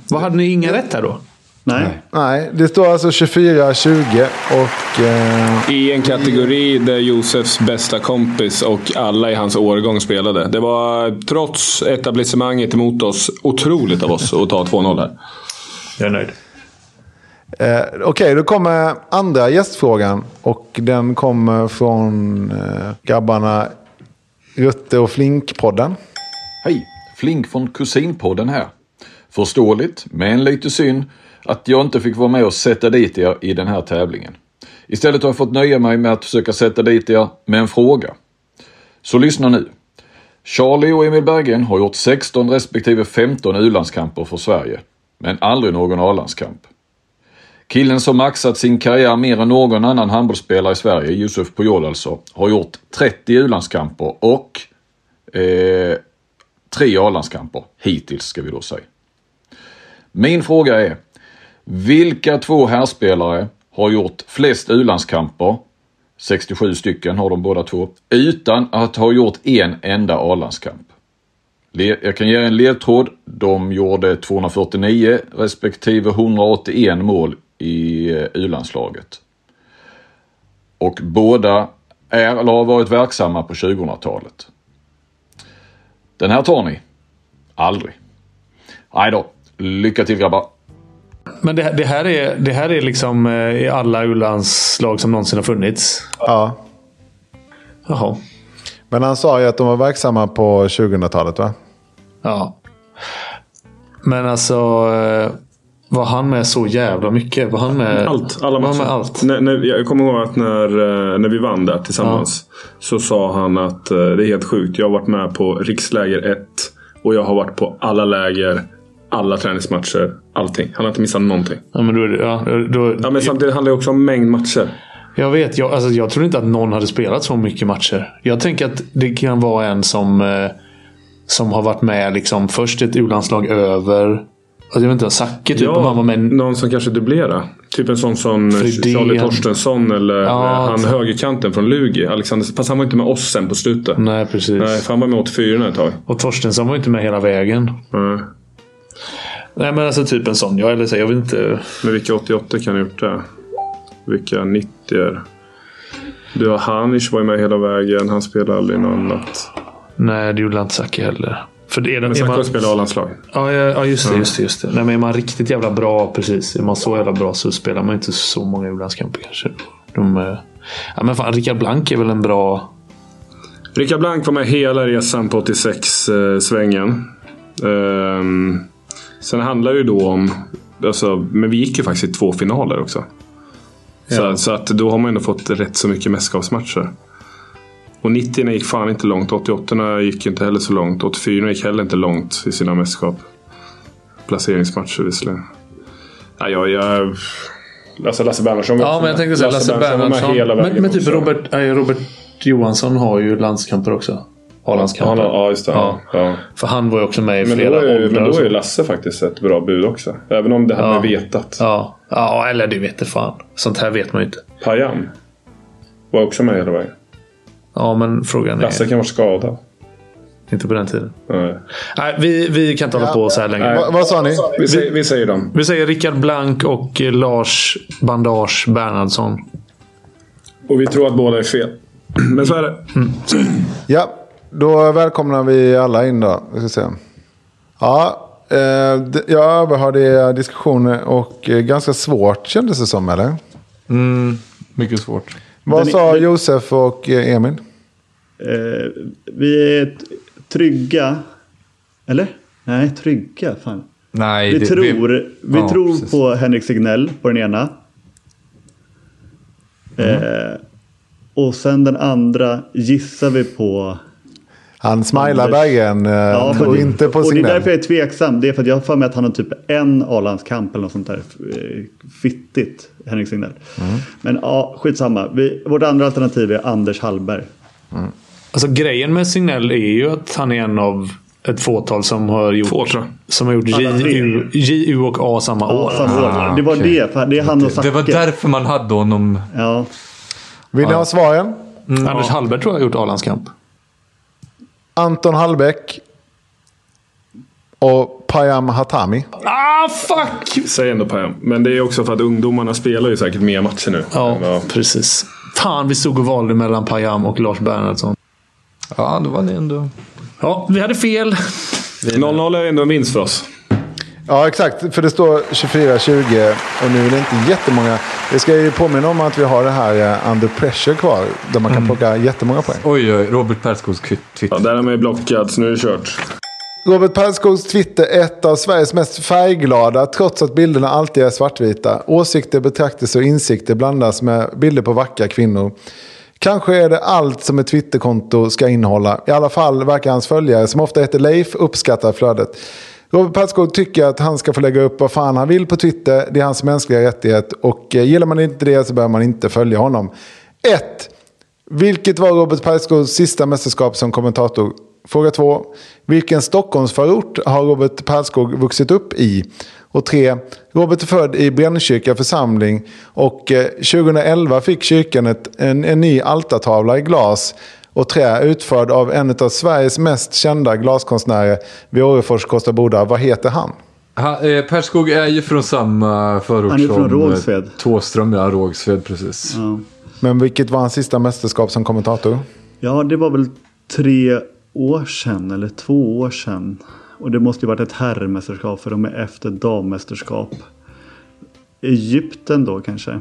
Vad hade ni inga rätt här då? Nej. Nej, det står alltså 24-20 och... Eh, I en kategori där Josefs bästa kompis och alla i hans årgång spelade. Det var, trots etablissemanget emot oss, otroligt av oss att ta 2-0 här. Jag är nöjd. Eh, Okej, då kommer andra gästfrågan. Och den kommer från eh, grabbarna Rutte och Flink-podden. Hej! Flink från Kusinpodden här. Förståeligt, men lite synd att jag inte fick vara med och sätta dit er i den här tävlingen. Istället har jag fått nöja mig med att försöka sätta dit er med en fråga. Så lyssna nu. Charlie och Emil Berggren har gjort 16 respektive 15 U-landskamper för Sverige, men aldrig någon A-landskamp. Killen som maxat sin karriär mer än någon annan handbollsspelare i Sverige, Yusuf Pujol alltså, har gjort 30 U-landskamper och eh, tre A-landskamper hittills ska vi då säga. Min fråga är, vilka två herrspelare har gjort flest U-landskamper, 67 stycken har de båda två, utan att ha gjort en enda A-landskamp? Le- Jag kan ge er en ledtråd. De gjorde 249 respektive 181 mål i eh, U-landslaget. Och båda är eller har varit verksamma på 2000-talet. Den här tar ni. Aldrig. Nej då. Lycka till grabbar. Men det, det, här är, det här är liksom eh, i alla u-landslag som någonsin har funnits. Ja. Jaha. Men han sa ju att de var verksamma på 2000-talet va? Ja. Men alltså... eh, Var han med så jävla mycket? Var han med Allt. Alla var han matcher. med allt? När, när, jag kommer ihåg att när, eh, när vi vann där tillsammans så sa han att eh, det är helt sjukt. Jag har varit med på riksläger 1 och jag har varit på alla läger, alla träningsmatcher, allting. Han har inte missat någonting. Ja, men då, är det- ja, då, Ja, men samtidigt handlar det också om mängd matcher. Jag vet. Jag, alltså, jag tror inte att någon hade spelat så mycket matcher. Jag tänker att det kan vara en som, eh, som har varit med liksom, först ett u-landslag över. Alltså, jag vet inte, Zacke typ. om han var med någon som kanske dubblerar. Typ en sån som Fridén. Charlie Torstensson eller Ja, eh, han högerkanten från Lugi. Alexander, fast han var inte med oss sen på slutet. Nej, precis. Nej, för han var med 84 ett tag. Och Torstensson var ju inte med hela vägen. Mm. Nej, men alltså typ en sån. Jag, eller så, jag vet inte. Men vilka 88 kan ha gjort det? Vilka 90 er? Du har Hanish var ju med hela vägen. Han spelade aldrig något annat. Nej, det gjorde inte Zacke heller. För det är, Men är Zacko man, spelade A-landslag. ja, ja, ja, just det. Just det, just det. Nej, men är man riktigt jävla bra, precis. Är man så jävla bra så spelar man inte så många u-landskamper kanske. De, eh, ja, men fan, Rickard Blank är väl en bra... Rickard Blank var med hela resan på 86-svängen. Ehm, sen handlar det ju då om... Alltså, men vi gick ju faktiskt i två finaler också. Så, så att då har man ändå fått rätt så mycket mästerskapsmatcher. Och 90 gick fan inte långt. 88 gick inte heller så långt. 84 gick heller inte långt i sina mästerskap. Placeringsmatcher visserligen. Nej, jag... jag Lasse, Lasse Bernhardsson var Ja, också men med. jag tänkte säga Lasse var med Bernhardsson. hela Men, vägen men typ också. Robert, nej, Robert Johansson har ju landskamper också. Ja, A-landskamper. ja, just det. Ja. Ja. För han var ju också med Men i då, flera är, men åldrar. då och är så. ju Lasse faktiskt ett bra bud också. Även om det här Ja. med vetat. Ja. ja, eller det vet jag fan. Sånt här vet man ju inte. Payam var också med hela vägen. Ja, men frågan är... Lasse kan vara skadad. Inte på den tiden. Nej. Nej, vi, vi kan inte hålla på så här länge. Va, vad sa ni? Vi, säger, vi säger dem. Vi säger Rickard Blank och eh, Lars Bandage Bernhardsson. Och vi tror att båda är fel. Men så är det. Ja, då välkomnar vi alla in då. Vi ska se. Ja, eh, d- jag överhörde diskussioner och eh, ganska svårt kändes det som, eller? Mm, mycket svårt. Vad Den- sa den- Josef och eh, Emil? Eh, vi är t- trygga. Eller? Nej, trygga. Fan. Nej, Vi det- tror, vi, ja, tror precis. på Henrik Signell på den ena. Mm. Eh, och sen den andra gissar vi på. Han smilar Anders. Bergen eh, men och det- inte på Och det är signal. därför jag är tveksam. Det är för att jag har för mig att han har typ en A-landskamp eller något sånt där eh, fittigt. Henrik Signell. Mm. Men ja, skitsamma. Vi, vårt andra alternativ är Anders Hallberg. Alltså grejen med Signell är ju att han är en av ett fåtal som har gjort, Två, tror jag. som har gjort Alla tre. JU, JU och A samma Ja, år. samma år. Det var okej. det. För det är han och Zacke. Det var därför man hade honom. Ja. Vill ni ha svaren? Anders Hallberg tror jag har gjort A-landskamp. Anton Hallbäck och Payam Hatami. Ah, fuck! Säg ändå Pam. Men det är också för att ungdomarna spelar ju säkert mer matcher nu. Ja, Än vad- precis. Fan, vi stod och valde mellan Payam och Lars Bernhardsson. Ja, då var ni ändå... Ja, vi hade fel. 0-0 är ändå en vinst för oss. Ja, exakt. För det står 24-20 och nu är det inte jättemånga. Vi ska ju påminna om att vi har det här eh, under pressure kvar. Där man Mm. kan plocka jättemånga poäng. Oj, oj, Robert Perskogs kvitt. Ja, där är man ju blockad, så nu är det kört. Robert Perskogs Twitter är ett av Sveriges mest färgglada trots att bilderna alltid är svartvita. Åsikter, betraktelser och insikter blandas med bilder på vackra kvinnor. Kanske är det allt som ett Twitterkonto ska innehålla. I alla fall verkar hans följare, som ofta heter Leif, uppskatta flödet. Robert Perskog tycker att han ska få lägga upp vad fan han vill på Twitter. Det är hans mänskliga rättighet. Och eh, gillar man inte det så behöver man inte följa honom. 1. Vilket var Robert Perskogs sista mästerskap som kommentator? Fråga två. Vilken Stockholmsförort har Robert Perskog vuxit upp i? Och tre. Robert är född i Brännkyrka församling och eh, 2011 fick kyrkan ett, en, en ny altartavla i glas och trä utförd av en av Sveriges mest kända glaskonstnärer vid Orrefors Kosta Boda. Vad heter han? Ha, eh, Perskog är ju från samma förort Han är från som eh, Rågsved. Thåström, ja. Rågsved, precis. Ja. Men vilket var hans sista mästerskap som kommentator? ja, det var väl tre år sedan eller två år sedan. Och det måste ju varit ett herrmästerskap för de är efter dammästerskap. Egypten då kanske?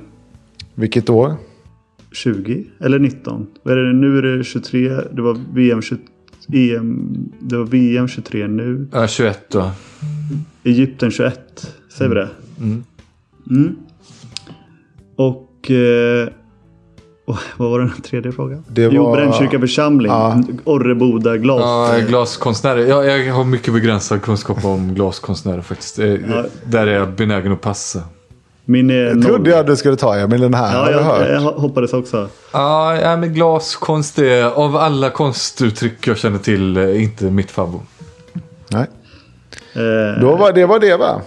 Vilket år? 20 eller 19? Vad är det nu? Är det 23? Det var VM 20, EM, E det var VM 23 nu. Ja, 21 då. Egypten 21. Säger vi det? Mm. Och... Eh, och vad var den tredje frågan? Det Jo, var- Brännkyrka församling. Ja. Orreboda glas. Ja, glaskonstnärer. Ja, jag har mycket begränsad kunskap om glaskonstnärer faktiskt. Eh, Där är jag benägen att passa. Min är Jag trodde noll. jag att du skulle ta Emil den här. Ja, har du hört? jag, jag hoppades också. Ja, ja, men glaskonst är av alla konstuttryck jag känner till eh, inte mitt favvo. Nej. Eh, Mm. Då var, det var det va?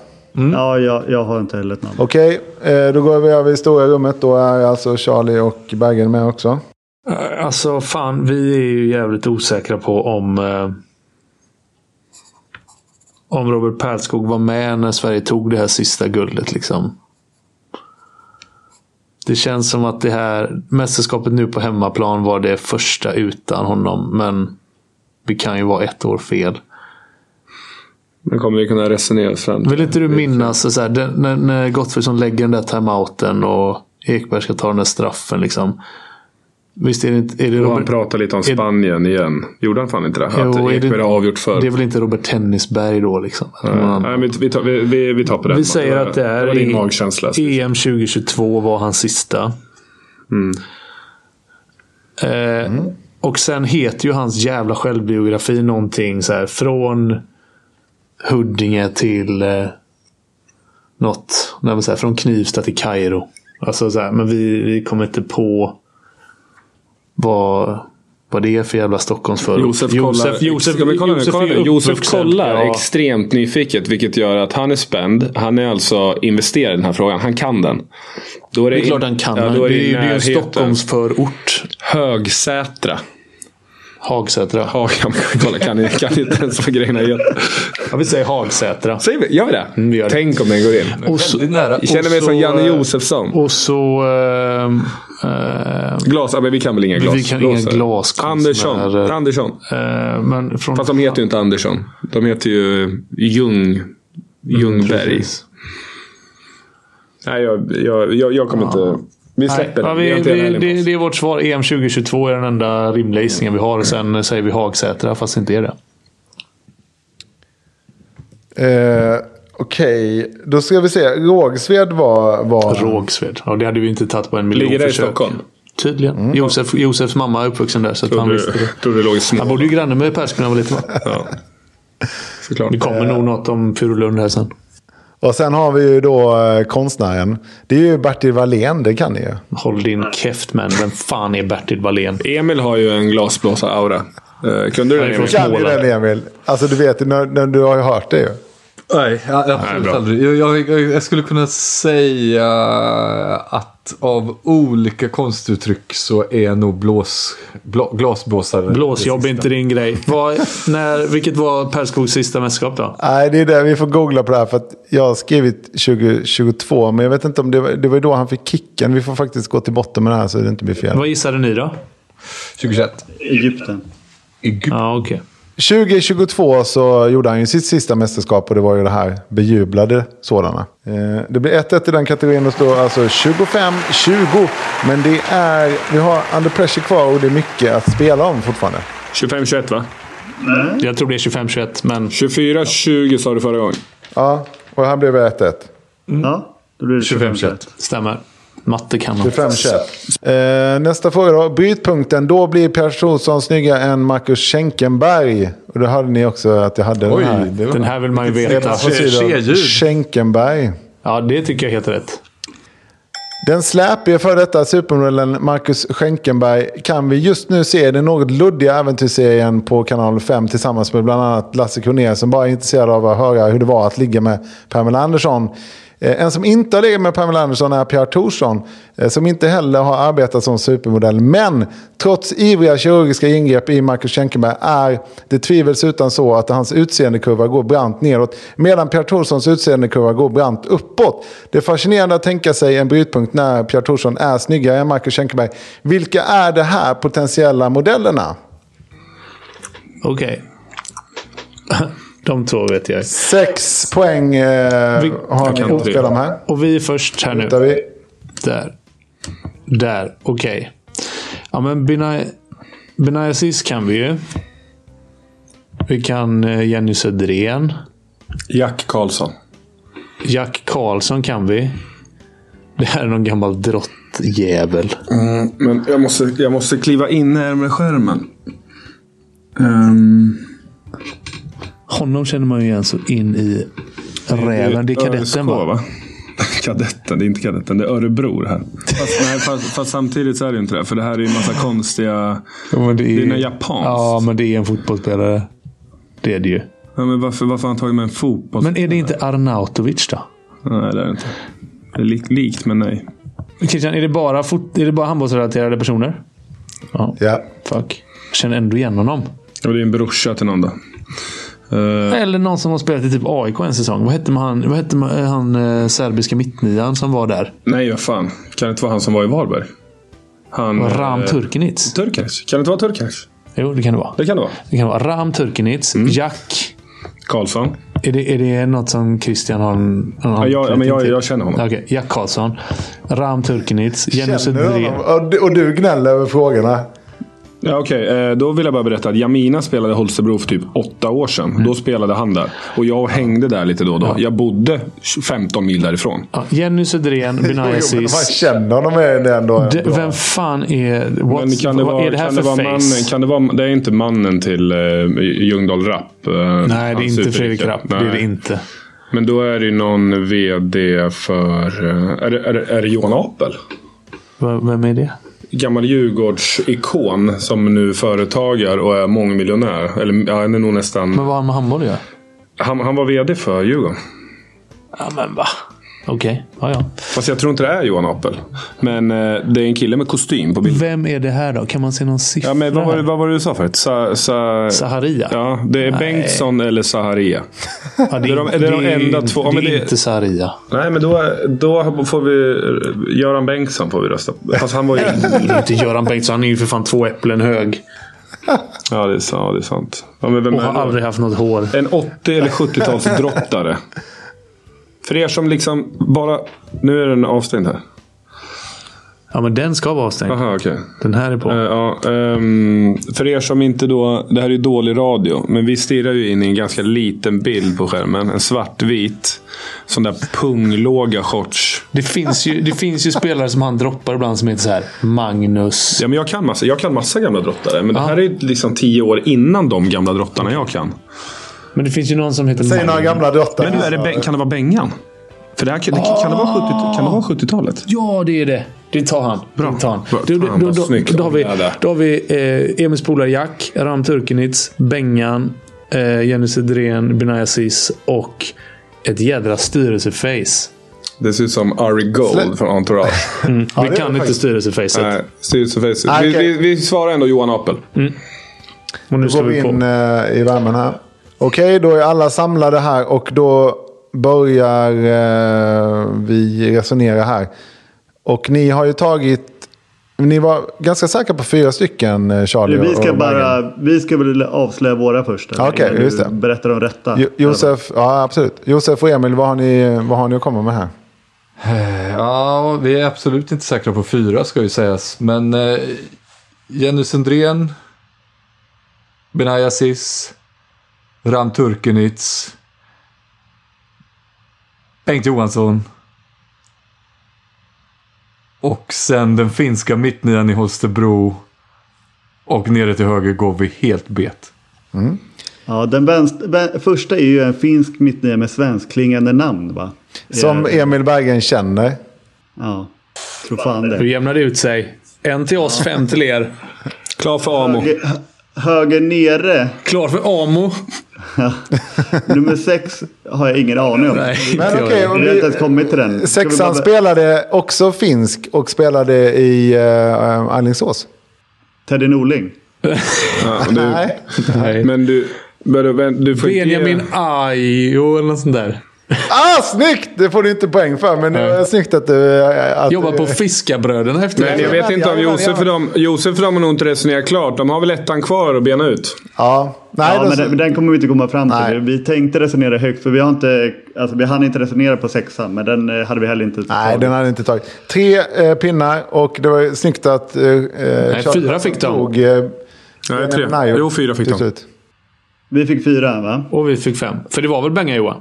Ja, jag, jag har inte heller ett namn. Okej, eh, då går vi över i stora rummet. Då är alltså Charlie och Bergen med också. Eh, Alltså fan, vi är ju jävligt osäkra på om... Eh, om Robert Perskog var med när Sverige tog det här sista guldet liksom. Det känns som att det här mästerskapet nu på hemmaplan var det första utan honom, men vi kan ju vara ett år fel. Men kommer det kunna resonera oss fram? Vill inte du minnas så här, den- när, när Gottfridsson lägger den där timeouten och Ekberg ska ta den där straffen liksom. Visst är det inte... Är det Och Robert, han pratar lite om är- Spanien igen. Gjorde han fan inte det? Jo, är Att det- Ekberg har avgjort förr. Det är väl inte Robert Tennisberg då liksom? Eller någon Nej, annan. Nej, men vi, tar, vi, vi, vi tar på den. Vi säger var- att det är var din i- magkänsla. EM 2022 var hans sista. Mm. Eh, Och sen heter ju hans jävla självbiografi någonting så här från Huddinge till eh, något. Nej, men så här, från Knivsta till Kairo. Alltså så här, men vi, vi kommer inte på vad, vad det är för jävla Stockholmsförort. Josef kollar, Josef, Josef, ska vi kolla nu? Josef, Kolla är nu. ju Josef uppvuxen. kollar Ja. extremt nyfiket, vilket gör att han är spänd. Han är alltså investerad i den här frågan. Han kan den. Då Det är in- klart han kan. Ja, det, då är är det, ju- det är ju en närheten. Stockholmsförort. Högsätra. Hagsätra. Hakan. Kolla, kan ni, kan ni inte ens vad grejerna heter? Ja, vi säger Hagsätra. Säger vi, gör vi det? Mm, vi gör det. Tänk om den går in. Och så, Väldigt nära. Jag känner mig Och som så, Janne eh, Josefsson. och så... ehm, ehm, Glas, ja, men vi kan väl inga vi- glas. vi kan inga glaskonstnärer. Andersson. Andersson. eh, men från... Fast de heter ju inte Andersson. De heter ju Ljung. Ljungberg. Mm, Precis. Nej, jag, jag, jag, jag kommer inte... Vi släpper Nej, ja, den. vi, har inte det, en ärlig det, paus. det är vårt svar. EM 2022 är den enda rimliga gissningen vi har. Sen säger vi Hagsätra, fast det inte är det. Eh, Okej, då ska vi se. Rågsved var... var... Rågsved. Ja, det hade vi inte tagit på en miljon Ligger det i försök. Stockholm? Tydligen. Josef, Josefs mamma är uppvuxen där, så att han Trodde visste det. du- Trodde det låg i Han små. bodde ju granne med Persson när han var liten. va? Ja. Såklart. Det kommer nog något om Furulund här sen. Och sen har vi ju då eh, konstnären. Det är ju Bertil Wallén, det kan ni ju. Håll din käft man. Vem fan är Bertil Wallén? Emil har ju en glasblåsar-aura. Eh, kunde du den Nej, Emil? förlåt. Kan ju den Emil. Alltså du vet, när, när du har ju hört det ju. Nej, jag- absolut bra. aldrig. Jag, jag, jag, jag skulle kunna säga att av olika konstuttryck så är nog blås, blå, glasblåsare... Blåsjobb är inte din grej. Vad, när, vilket var Perskogs sista mästerskap då? Nej, det är det. Vi får googla på det här för att jag har skrivit 2022. Men jag vet inte om det var, det var ju då han fick kicken. Vi får faktiskt gå till botten med det här så det inte blir fel. Vad gissade ni då? 2021. Egypten. Egypten. Ja, okej. 2022 så gjorde han ju sitt sista mästerskap och det var ju det här bejublade sådana. Eh, Det blir 1-1 i den kategorin och står alltså 25-20. Men det är, vi har under pressure kvar och det är mycket att spela om fortfarande. 25-21 va? Mm. Jag tror det är 25-21, men... 24-20 sa du förra gången. Ja, och här blev det 1-1. Ja, då blir det 25 21. Stämmer. Matte kan man. 25-21. Eh, nästa fråga då. Brytpunkten. Då blir Per Olsson snyggare än Marcus Schenkenberg. Och då hörde ni också att jag hade Oj, den här. det var... Den här vill man ju veta. Vilket På sidan. C-ljud. Schenkenberg. Ja, det tycker jag är helt rätt. Den släpige före detta supermodellen Marcus Schenkenberg kan vi just nu se i den något luddiga äventyrsserien på kanal 5 tillsammans med bland annat Lasse Kronér som bara är intresserad av att höra hur det var att ligga med Pamela Andersson. Eh, En som inte har legat med Pamela Andersson är Pierre Thorsson eh, som inte heller har arbetat som supermodell. Men trots ivriga kirurgiska ingrepp i Marcus Schenkenberg är det tvivelsutan så att hans utseendekurva går brant nedåt medan Pierre Thorssons utseendekurva går brant uppåt. Det är fascinerande att tänka sig en brytpunkt när Pierre Thorsson är snyggare än Marcus Schenkenberg. Vilka är de här potentiella modellerna? Okej. De två vet jag. Sex poäng eh, Vi- har kan ni att inte spela med. Och vi är först här nu. Där vi, Där. Där. Okej. Ja, men Benai- Benai Aziz kan vi ju. Vi kan eh, Jenny Söderén. Jack Karlsson. Jack Karlsson kan vi. Det här är någon gammal drottjävel. Mm, Men jag måste, jag måste kliva in närmare skärmen. Ehm, Honom känner man ju igen så in i räven. Det är kadetten ÖSK, va? Kadetten, det är inte kadetten. Det är Örebro det här. Fast, nej, fast, fast samtidigt så är det ju inte det. För det här är ju en massa konstiga... Ja, men det, är... Det är något japanskt. Ja, men det är en fotbollsspelare. Det är det ju. Ja, men varför, varför har han tagit med en fotboll? Men är det inte Arnautovic då? Nej, det är det inte. Det är lik, likt, men nej. Christian, är det bara, fot- är det bara handbollsrelaterade personer? Ja, ja. fuck. Jag känner ändå igen honom. Ja, det är en brorsa till någon då. Eh, Eller någon som har spelat i typ AIK en säsong. Vad hette man, han, vad hette man, eh, han eh, serbiska mittnian som var där? nej, vad fan. Kan det inte vara han som var i Varberg? Han... Ram eh, Turkenic. Turkanic. Kan det inte vara Turkanic? Jo, det kan det vara. Det kan det vara. Det kan vara Ram Turkenic. Mm. Jack. Karlsson. Är det, är det något som Christian har en... en Ja, jag, ja, men jag, till? jag känner honom. Okej, Jack Karlsson. Ram Turkenic. Jenny Känner du honom? Söderén. Och du- Och du gnäller över frågorna. Ja, Okej, eh, då vill jag bara berätta att Jamina spelade i Holstebro för typ åtta år sedan. Då spelade han där. Och jag hängde där lite då och då. Jag bodde 15 mil därifrån. Ja, Jenny Söderén. Jo, Benai men man Aziz. känner honom är det ändå. Det- ändå. Vem fan är... What, Men kan det vad vara, är det här kan för det vara face? mannen? Kan det, vara, det är inte mannen till eh, Ljungdahl Rapp. eh, Nej, han det är inte superrika. Fredrik Rapp. Det Nej. är det inte. Men då är det ju någon VD för... eh, Är det, är det, är det Johan Apel? V- Vem är det? Gammal Djurgårds-ikon som nu företagar och är mångmiljonär. Eller ja, han är nog nästan... Men vad har han med handboll att göra? Han, han var VD för Djurgården. Ja, men va? Okej, ja ja. Fast jag tror inte det är Johan Apel. Men eh, det är en kille med kostym på bilden. Vem är det här då? Kan man se någon siffra? Ja, men vad, var, här? det- vad var det du sa förut? Sa, sa, Saharia? Ja, det är Nej. Bengtsson eller Saharia. Ja, det är de- det är de enda två- ja, Det men är det- inte Saharia. Nej, men då, då får vi... Göran Bengtsson får vi rösta på. Fast han var ju... Det är inte Göran Bengtsson. Han är ju för fan två äpplen hög. ja, det är, sant- ja, det är sant. Ja, men vem Och är har det? aldrig haft något hår. En 80 eller 70-talsdrottare. För er som liksom bara... Nu är den avstängd här. Ja, men den ska vara avstängd. Aha, okej. Den här är på. Eh, ja, ehm, för er som inte då... Det här är ju dålig radio, men vi stirrar ju in i en ganska liten bild på skärmen. En svartvit, sån där punglåga shorts. Det finns, ju, det finns ju spelare som han droppar ibland som heter så här Magnus. Ja, men jag, kan massa, jag kan massa gamla drottare, men det här är ju liksom tio år innan de gamla drottarna jag kan. Men det finns ju någon som heter Säg några gamla drottare. Men nu är det, Beng- kan det vara Bengan? För det här, kan, det, kan det vara 70 kan det vara 70-talet? Ja, det är det. Det tar han. Det tar han. Bra. Då, då, Fan, då, vad då, snyggt. då har vi, Ja, där. då har vi eh, Emils polare Jack, Ram Turkenitz, Bengan, eh, Jenny Sidrén, Binaya Aziz och ett jädra styrelseface. Det ser ut som Ari Gold Slä- från Entourage. vi kan inte styrelsefacet. Nej, styrelsefacet. Ah, Vi, okej. vi, vi svarar ändå Johan Apel. Och nu Då slår går vi vi på. in eh, i värmen här. Okej, då är alla samlade här och då börjar eh, vi resonera här. Och ni har ju tagit... Ni var ganska säkra på fyra stycken, eh, Charlie Vi ska, och Baggen. bara, vi ska väl avslöja våra först. eller? Okej, Innan du just det. Berättar de rätta. Jo- Josef, ja, absolut. Josef och Emil, vad har ni, vad har ni att komma med här? Eh, Ja, vi är absolut inte säkra på fyra ska ju sägas. Men eh, Jenny Sundren, Benay Aziz, Ram Turkenitz, Bengt Johansson och sen den finska mittnian i Holstebro och nere till höger går vi helt bet. Ja, den vänster, vä- första är ju en finsk mittnia med svenskklingande namn va? Eh, Som Emil Berggren känner. Ja, tror fan det. Nu jämnar det ut sig. En till oss, fem till er. Klar för Amo. Höger- hö- Höger nere, Klar för Amo. nummer sex, har jag ingen aning om. Nej, inte Men jag. okej, om Vi har inte vi, ens kommit till den. Ska vi sexan bara- spelade också finsk och spelade i uh, Alingsås. Teddy Norling. Ja, du, Nej. Nej. men du... Men du, men du får inte ge- Benjamin Ajo eller något sånt där. Ah, snyggt! Det får du inte poäng för, men det var snyggt att du... eh, Att Jobbar du- på Fiskabröderna efter Men jag det. vet inte om Josef och dem... Josef och dem har nog inte resonerat klart. De har väl ettan kvar att bena ut. Ja. Nej, Ja, då- men den, men den kommer vi inte komma fram till. Nej. Vi tänkte resonera högt, för vi, har inte, alltså, vi hann inte resonera på sexan. Men den eh, hade vi heller inte Nej, tagit. den hade inte tagit. Tre eh, pinnar och det var ju snyggt att... Eh, Nej, fyra fick de. Tog, eh, Nej, tre. Benayo Jo, fyra fick till de. slut. Vi fick fyra va? Eh, Och vi fick fem. För det var väl Benga Johan?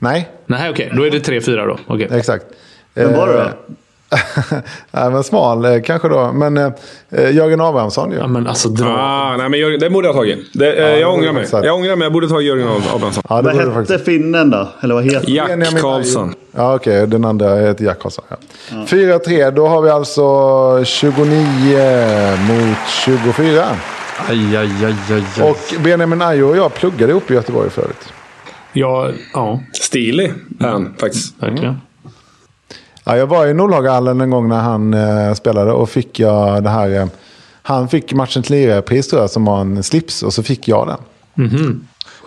Nej, Nej, okej. Då är det tre, fyra då. Okej. exakt. Eh, Vem var det då? Nej, men smal eh, kanske då. Men eh, eh, Jörgen Abrahamsson ju. Ja, men alltså dra. Ah, nej, men Jörgen, det borde jag ha tagit. Det, eh, det jag borde ångrar du mig. faktiskt ha. Jag ångrar mig. Jag borde ta Jörgen Abrahamsson. ja, det Vad borde det hette faktiskt. finnen då? Eller vad heter han? Jack Benjamin Karlsson. Berggren. Ja, okej. Den andra heter Jack Karlsson. Ja. 4-3. Då har vi alltså 29 mot 24. Aj, aj, aj, aj, aj. Och Benjamin Ayo och jag pluggade ihop i Göteborg förut. Ja, ja Stilig är han faktiskt. verkligen. Ja, jag var i Nordhagahallen en gång när han eh, spelade och fick jag det här. Eh, han fick matchens lirarpris tror jag som var en slips och så fick jag den.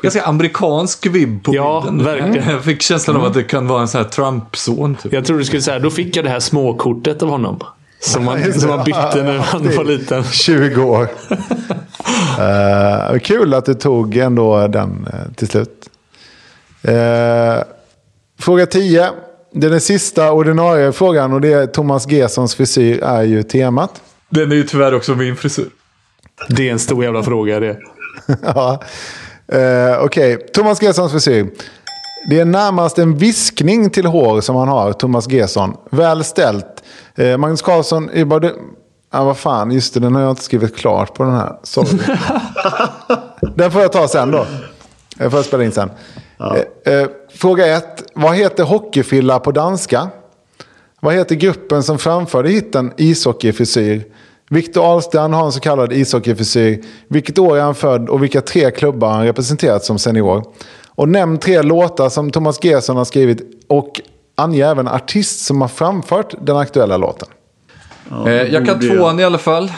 Ganska amerikansk vibb på Ja, bilden. verkligen. Mm. Jag fick känslan av att det kan vara en sån här Trump-son. Typ. Jag trodde du skulle säga, då fick jag det här småkortet av honom. Som man, som man bytte när han var liten. 20 år. Eh, kul att du tog ändå den eh, till slut. Eh, fråga 10. Det är den sista ordinarie frågan och det är Thomas Gessons frisyr är ju temat. Den är ju tyvärr också min frisyr. Det är en stor jävla fråga det. ja. Eh, Okej, Thomas Gessons frisyr. Det är närmast en viskning till hår som han har, Thomas Gesson. Väl ställt. Eh, Magnus Carlsson är bara... du- Ja, vad fan. Just det, den har jag inte skrivit klart på den här. Sorry. den får jag ta sen då. Den får jag spela in sen. Eh, eh, fråga ett. Vad heter hockeyfilla på danska? Vad heter gruppen som framförde hitten Ishockeyfrisyr? Viktor Ahlstrand har en så kallad ishockeyfrisyr. Vilket år är han född och vilka tre klubbar har han representerat som senior? Och nämn tre låtar som Thomas Gesson har skrivit och Ange även artist som har framfört den aktuella låten. Eh, jag kan tvåan i alla fall.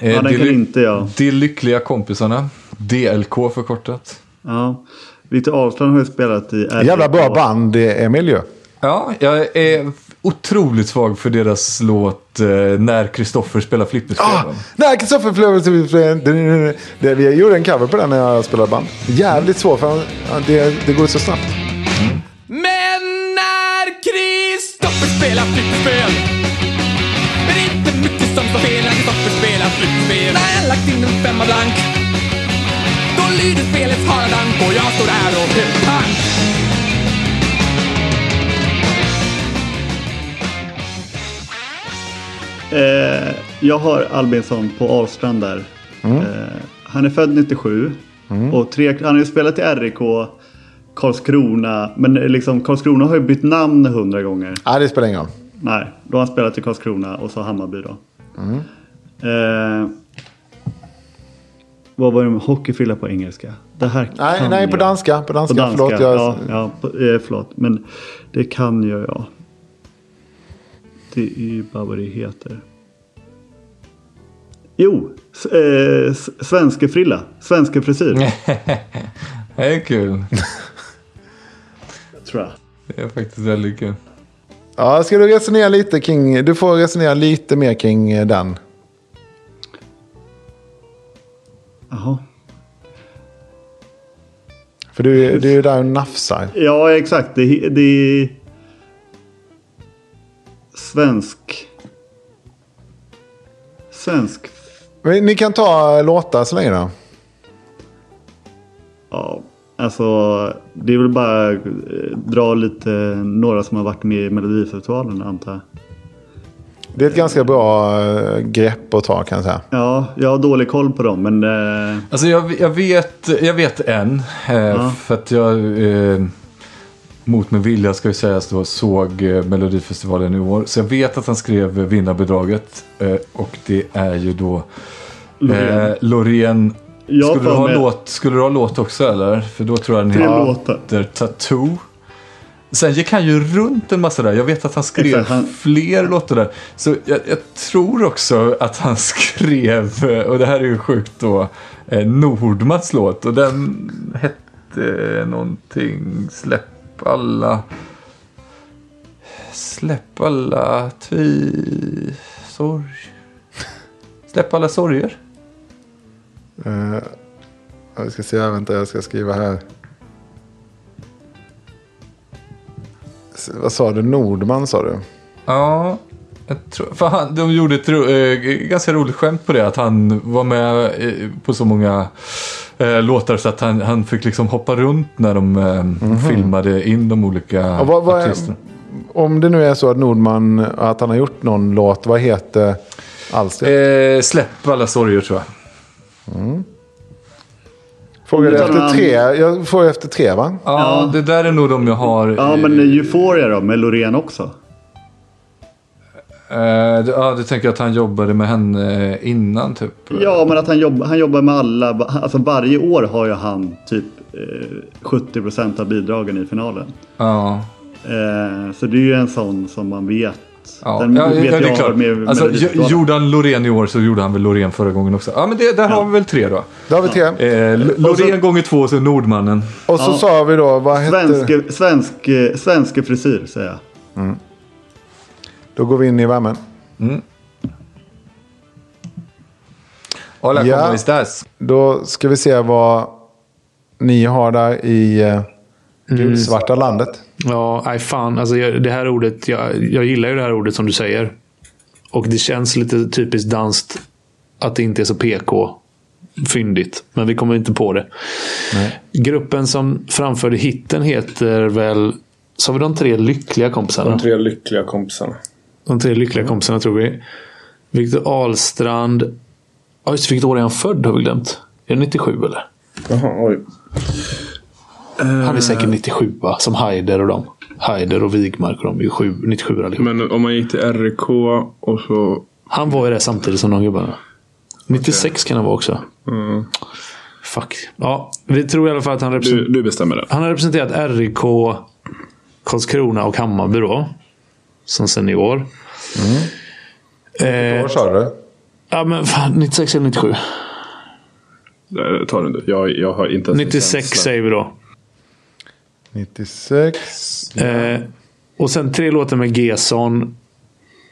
Eh, Ja, den de, kan ly- inte jag. de lyckliga kompisarna. DLK förkortat. Ja. Viktor Ahlstrand har ju spelat i... Jävla bra band, eh, Emil ju. Ja, jag är otroligt svag för deras låt eh, När Kristoffer spelar Ah! flipperspelen. Nej, Kristoffer Flöver... det- Vi gjorde en cover på den när jag spelade band. Jävligt svår, för han- det, det går så snabbt. Men när Kristoffer spelar flipperspel är det inte mycket som står fel när Kristoffer spelar flipperspel. När jag lagt in en femma blank då lyder spelets haradank och jag står där och är pank. Eh, jag har Albinsson på Ahlstrand där. Mm. Eh, han är född 97. Och tre, han har ju spelat i RIK, Karlskrona. Men liksom, Karlskrona har ju bytt namn hundra gånger. Nej, det spelar ingen roll. Nej, då har han spelat i Karlskrona och så Hammarby då. Mm. Eh, vad var det med hockeyfrilla på engelska? Det här Nej, kan nej, på jag. danska, på danska, förlåt, jag- Ja, ja, på, eh, förlåt. Men det kan ju jag. Det är ju bara vad det heter. Jo, s- eh, s- svenskefrilla. Svenskefrisyr. Det är kul. tror jag. Det är faktiskt väldigt kul. Ja, ska du resonera lite kring... Du får resonera lite mer kring eh, den. Jaha. För du, du är ju där och nafsar. Ja, exakt. Det, he- det är... Svensk... Svensk... Men ni kan ta eh, låtar så länge då. Ja, alltså... Det är väl bara eh, dra lite några som har varit med i Melodifestivalen, antar jag. Det är ett ganska bra eh, grepp att ta kan jag säga. Ja, jag har dålig koll på dem, men... Eh, Alltså jag, jag, vet, jag vet en. Eh, För att jag eh, mot min vilja ska ju sägas då såg eh, Melodifestivalen i år. Så jag vet att han skrev eh, vinnarbidraget. Eh, och det är ju då eh, Loreen. Loreen. Jag Skulle du, får ha med- låt, skulle du ha låt också eller? För då tror jag den Tre låtar. heter Tattoo. Sen gick han ju runt en massa där. Jag vet att han skrev Exakt, han- fler låtar där. Så jag, jag tror också att han skrev, eh, och det här är ju sjukt då, eh, Nordmats låt. Och den hette någonting Släpp alla... Släpp alla tvi... Sorg... Släpp alla sorger. Eh, jag ska se, vänta jag ska skriva här. S- Vad sa du? Nordman sa du? Ja, jag tror, för han, de gjorde ett ro, eh, ganska roligt skämt på det. Att han var med eh, på så många eh, låtar så att han, han fick liksom hoppa runt när de eh, filmade in de olika Och Mhm. vad, vad är, artisterna. om det nu är så att Nordman, att han har gjort någon låt, vad heter alstret? Eh, släpp alla sorger tror jag. Frågade Utan efter han- tre, jag frågade efter tre va? Ja, det där är nog de jag har. ja, eh, men Euphoria då, med Loreen också. eh, du- ja, du tänker att han jobbade med henne eh, innan typ? Ja, men att han, jobb, han jobbar med alla. Alltså varje år har ju han typ eh, 70% av bidragen i finalen. Ja. Eh, så det är ju en sån som man vet. Ja, Den ja, ja, det är jag klart. med alltså, Melodifestivalen. gj- gjorde han Loreen i år så gjorde han väl Loreen förra gången också. Ja, men det, där har vi väl tre då. Då har vi tre. Eh, L- Loreen gånger två och så Nordmannen. Och så sa vi då, vad hette... Svenske, svensk, eh, svenske frisyr säger jag. Då går vi in i värmen. Hola, Ja. como estás? Då ska vi se vad ni har där i eh, gulsvarta landet. Ja, nej fan. Alltså, jag, det här ordet, jag, jag gillar ju det här ordet som du säger. Och det känns lite typiskt danskt att det inte är så PK. Fyndigt. Men vi kommer inte på det. Gruppen som framförde hitten heter väl... Sa vi de tre lyckliga kompisarna? De tre Mm. lyckliga kompisarna. De tre lyckliga kompisarna tror vi. Viktor Ahlstrand. Ja, just det, vilket år är han född har vi glömt. Är det 97 eller? Jaha, oj. Eh. Han är säkert 97 va? Som Haider och dem. Haider och Wigmark och de är ju sju- 97 allihop. Men om man gick till RK och så... Han var ju där samtidigt som de gubbarna. 96 kan han vara också. Fuck. Ja, vi tror i alla fall att han representerar... Du, du bestämmer det. Han har representerat RIK Karlskrona och Hammarby då. Som senior. Vilket år sa du? Eh, Ja, men fan. 96 eller 97? Eh, Ta den du. Jag, jag har inte ens en 96 känsla. säger vi då. 96. Eh, och sen tre låtar med Gesson.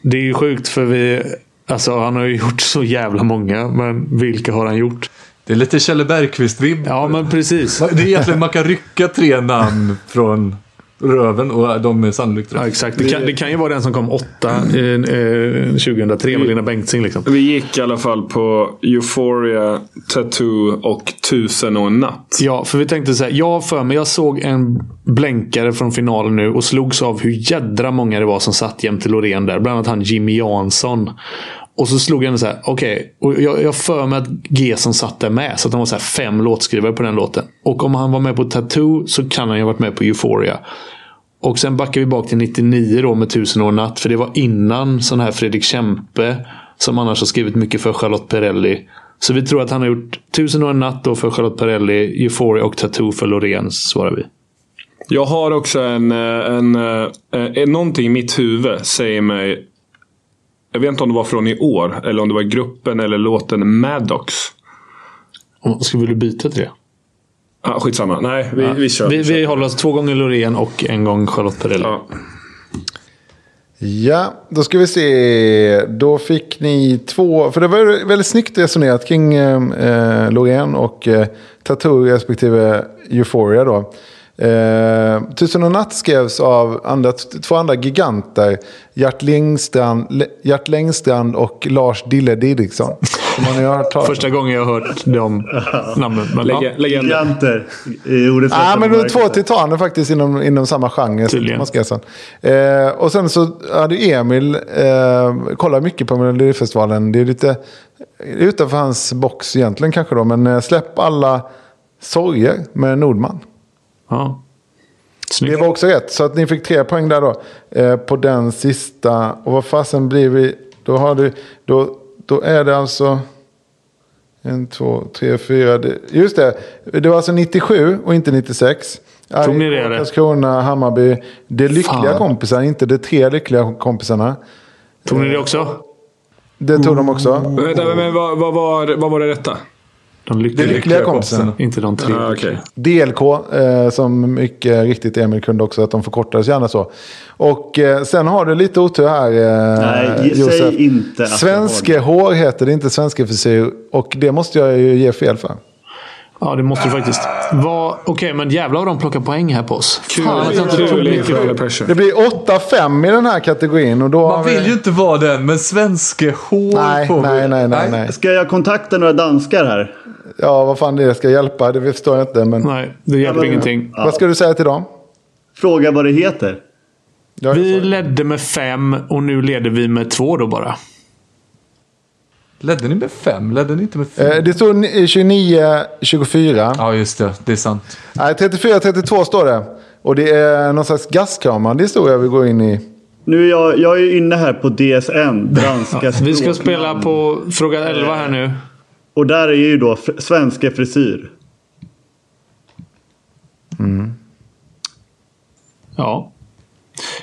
Det är ju sjukt för vi... Alltså han har ju gjort så jävla många. Men vilka har han gjort? Det är lite Kjelle Bergqvist-vibb. Ja, men precis. Det är egentligen man kan rycka tre namn från röven och de är sannolikt Ja, rätt. exakt. Det kan, det kan ju vara den som kom åtta eh, eh, 2003 med Lena Bengtzing. Liksom. Vi gick i alla fall på Euphoria, Tattoo och Tusen och en natt. Ja, för vi tänkte så här. Jag har för mig, jag såg en blänkare från finalen nu och slogs av hur jädra många det var som satt jämte Loreen där. Bland annat han Jimmy Jansson. Och så slog jag ändå så här, okej. och Jag, jag har för mig att G som satt där med. Så att de var så här fem låtskrivare på den låten. Och om han var med på Tattoo så kan han ju ha varit med på Euphoria. Och sen backar vi bak till 99 då med Tusen år och natt. För det var innan sån här Fredrik Kempe. Som annars har skrivit mycket för Charlotte Perrelli. Så vi tror att han har gjort Tusen år och natt då för Charlotte Perrelli, Euphoria och Tattoo för Loreen, svarar vi. Jag har också en, eh, en, eh, eh, Någonting i mitt huvud säger mig... Jag vet inte om det var från i år, eller om det var gruppen eller låten Maddox. Om- Ska vi byta till det? Ah, skitsamma. Nej, vi, vi kör. Vi, vi håller oss två gånger Loreen och en gång Charlotte Perrelli. Ja. Ja, då ska vi se. Då fick ni två. För det var ju väldigt snyggt resonerat kring eh, Loreen och eh, Tattoo respektive Euphoria. Då. Eh, Tusen och natt skrevs av andra, t- två andra giganter. Gert Längstrand, Le- Gert Längstrand och Lars Dille Didriksson. Som man ju har hört talas om. Första gången jag hört de namnen. Men, ja. Lege- Legender. Giganter. I ordets Ja, rätta men de är två bemärkelse. titaner faktiskt inom, inom samma genre. Tydligen. Thomas Gesson. Eh, och sen så hade ju Emil eh, kollat mycket på Melodifestivalen. Det är lite utanför hans box egentligen kanske då. Men eh, släpp alla sorger med Nordman. Ja. Det Snyggt. var också rätt. Så att ni fick tre poäng där då. Eh, på den sista. Och vad fasen blir vi? Då, har du, då, då är det alltså... En, två, tre, fyra. det- Just det. Det var alltså 97 och inte 96. Tog ni det, Arjeplog, eller? Karlskrona, Hammarby. Det är lyckliga Fan. kompisar, inte de tre lyckliga kompisarna. Tog ni det också? Det tog de också. Vänta, men vad, vad, var, vad var det rätta? De De lyckliga. lyckliga kompisarna. Inte de tre. Ah, okej. DLK, eh, som mycket riktigt Emil kunde också, att de förkortades gärna så. Och eh, sen har du lite otur här, eh, Nej, ge- Josef. säg inte att Svenske jag hår heter det, inte svenske frisyr. Och det måste jag ju ge fel för. Ja, det måste du faktiskt. Vad- Okej, men jävlar vad de plockar poäng här på oss. Kul, Fan, att jag inte tog kul mycket. inför alla pressure. Det blir 8-5 i den här kategorin. Och då har Man vi- vill ju inte vara den, men svenske hår Nej, på nej, nej, nej, nej. Ska jag kontakta några danskar här? Ja, vad fan det ska hjälpa, det förstår jag inte. Men Nej, det hjälper ingenting. vad ska du säga till dem? Fråga vad det heter. Jag Vi ledde med fem och nu leder vi med två då bara. Ledde ni med fem? Ledde ni inte med fem? Eh, Det stod ni- 29-24. Ja, just det. Det är sant. Nej, 34-32 står det. Och det är någon slags gaskramande historia vi går in i. Nu är jag, jag är ju inne här på DSN, danska Vi ska språknamn. spela på fråga 11 här nu. Och där är ju då fr- svenska frisyr. Ja.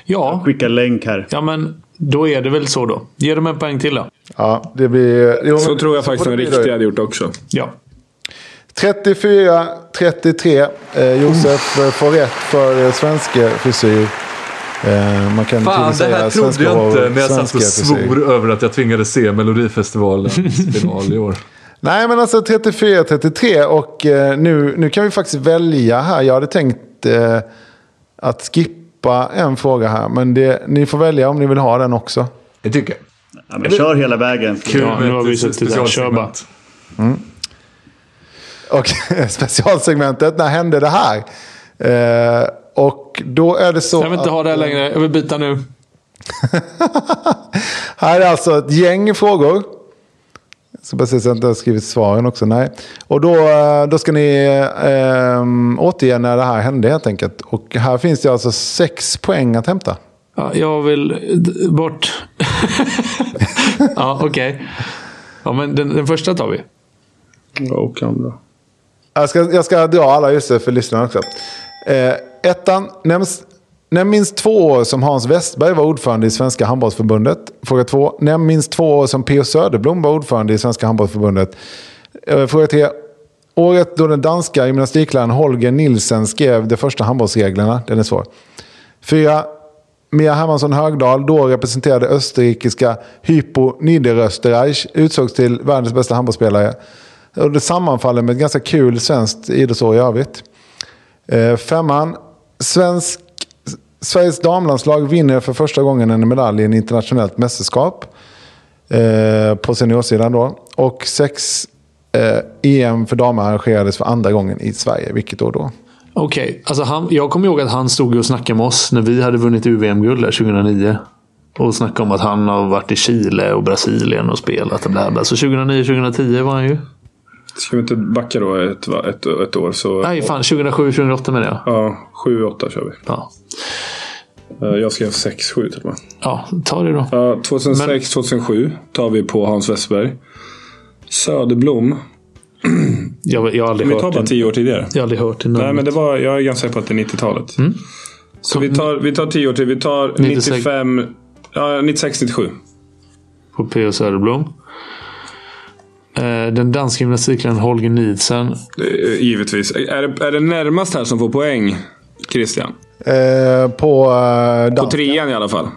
Ja, Skicka länk här. ja men då är det väl så då. Ge dem en poäng till då. Ja, det blir... Jo, Så men- tror jag faktiskt får det den bli då. riktiga hade gjort också. Ja. 34-33. Eh, Josef Mm. eh, får rätt för eh, svenska frisyr. Eh, man kan tydligen Fan, det här säga trodde svenska jag hår, inte när jag satt svenska och frisyr. svor över att jag tvingades se Melodifestivalens final i år. Nej, men alltså 34-33 och eh, nu, nu kan vi faktiskt välja här. Jag hade tänkt eh, att skippa en fråga här, men det, ni får välja om ni vill ha den också. Det tycker jag. Ja, men kör hela vägen. Ja, nu har vi ett sett det där. specialsegment. Kör bara. Och specialsegmentet, när hände det här? Eh, och då är det så Jag vill inte att- ha det här längre. Jag vill byta nu. Här är alltså ett gäng frågor. Så precis jag inte har skrivit svaren också. Nej. Och då, eh, då ska ni eh, återge när det här hände helt enkelt. Och här finns det alltså sex poäng att hämta. Ja, jag vill d- bort. ja, okej. Ja, men den, den första tar vi. Och andra. Jag ska, jag ska dra alla just det för lyssnarna också. Eh, ettan, nämns, Nämn minst två år som Hans Westberg var ordförande i Svenska Handbollsförbundet. Fråga två. Nämn minst två år som P.O. Söderblom var ordförande i Svenska Handbollsförbundet. Eh, Fråga tre. Året då den danska gymnastikläraren Holger Nielsen skrev de första handbollsreglerna. Den är svår. Fyra. Mia Hermansson Högdahl, då representerade österrikiska Hypo Niederösterreich, utsågs till världens bästa handbollsspelare. Och det sammanfaller med ett ganska kul svenskt idrottsår i övrigt. Eh, femman. Svensk, Sveriges damlandslag vinner för första gången en medalj i en internationellt mästerskap. Eh, på seniorsidan då. Och sex. Eh, EM för damer arrangerades för andra gången i Sverige. Vilket år då? Okej, alltså han, jag kommer ihåg att han stod och snackade med oss när vi hade vunnit UVM-guld där 2009. Och snackade om att han har varit i Chile och Brasilien och spelat och bla bla. Så 2009-2010 var han ju. Ska vi inte backa då ett, va- ett, ett år? Så, Nej, fan. 2007-2008 menar jag. Ja, 7-8 kör vi. Eh, Ja. Jag skrev 6-7 till och med. Ja, ta det då. Ja, 2006-2007 tar vi på Hans Westberg. Söderblom. Jag, jag har aldrig Vi hört tar bara det. 10 år tidigare. Jag har aldrig hört det Nej, namnet. men det var, jag är ganska säker på att det är 90-talet. Så vi tar, vi tar 10 år till. Vi tar 96. 95... Ja, 96-97. På P.O. Söderblom. Eh, Den danska gymnastikläraren Holger Nielsen. Eh, Givetvis. Är det, är det närmast här som får poäng, Christian? Eh, på eh, På dan- trean i alla fall.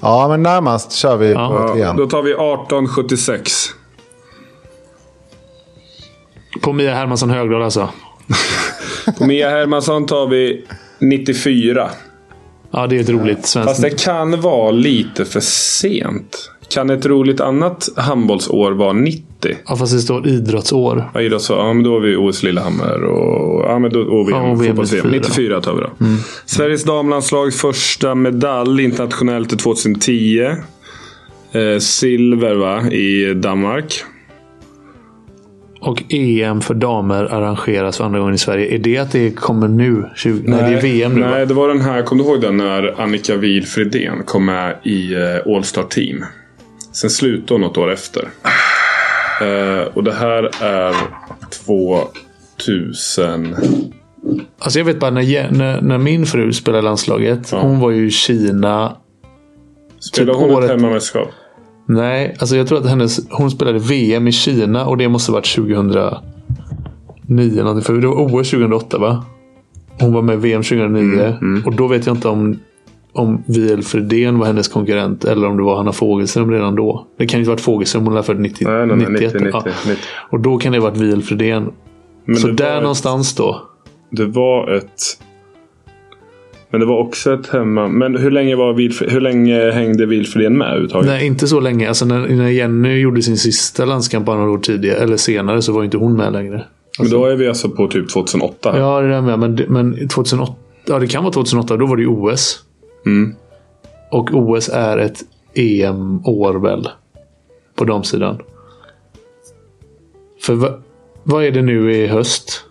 Ja, men närmast kör vi på E Ja, trean. då tar vi 1876. På Mia Hermansson Högdahl alltså. På Mia Hermansson tar vi 94. Ja, det är ett roligt Fast svenskt... det kan vara lite för sent. Kan ett roligt annat handbollsår vara 90? Ja, fast det står idrottsår. Ja, idrott, så, ja men då har vi OS Lillehammer och, ja, men då, och VM. Ja, och VM fotbolls-VM. 94 tar vi då. Sveriges damlandslags första medalj internationellt är 2010. Eh, silver va, i Danmark. Och EM för damer arrangeras för andra gången i Sverige. Är det att det kommer nu? 20... Nej, det är VM E nu. va? Nej, det var den här. Kommer du ihåg den när Annika Wihl Fridén kom med i eh, All Star Team? Sen slutade hon något år efter. Eh, och det här är 2000... Alltså jag vet bara när, Je- när, när min fru spelade i landslaget. Hon var ju i Kina. Spelade Typ hon ett året- hemmamästerskap? Nej, alltså jag tror att hennes, hon spelade VM i Kina och det måste ha varit 2009. Någonting, för det var OS 2008 va? Hon var med i VM 2009. Mm, Och då vet jag inte om, om Wiel Fredén var hennes konkurrent eller om det var Hanna Fogelström redan då. Det kan ju inte ha varit Fogelström, hon lär född 90, Nej, nej, nej, 91. 90, Ja. 90. Och då kan det ha varit Wiel Fredén. Men Så det där var ett- någonstans då. Det var ett... Men det var också ett hemma... Men hur länge, var Wilf- hur länge hängde Wilfredén med överhuvudtaget? Nej, inte så länge. Alltså när, när Jenny gjorde sin sista landskamp bara några år tidigare, eller senare, så var ju inte hon med längre. Men då är vi alltså på typ 2008. här. Ja, det där med. Men, det- men 2008, ja, det kan vara 2008. Då var det ju OS. Mm. Och OS är ett EM-år väl? På damsidan. För va, vad är det nu i höst?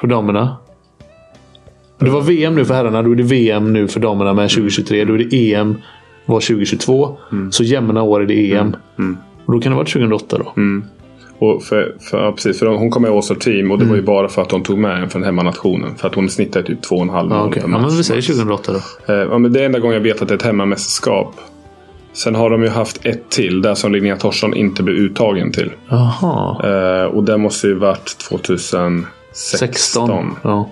För damerna? Det var VM nu för herrarna. Då är det VM nu för damerna med 2023. Då är det EM var 2022. Så jämna år är det EM. Och då kan det vara 2008 då. Och för, för, ja, precis, för hon kom med i All Star Team och det var Mm. ju bara för att de tog med en från hemmanationen. För att hon snittar typ 2,5 Ja, mål okej. per ja, match. men vi säger 2008 då. Eh, Ja, men det är enda gången jag vet att det är ett hemmamästerskap. Sen har de ju haft ett till, där som Linnea Thorsson inte blev uttagen till. Jaha. Eh, och det måste ju varit 2016. 16. Ja.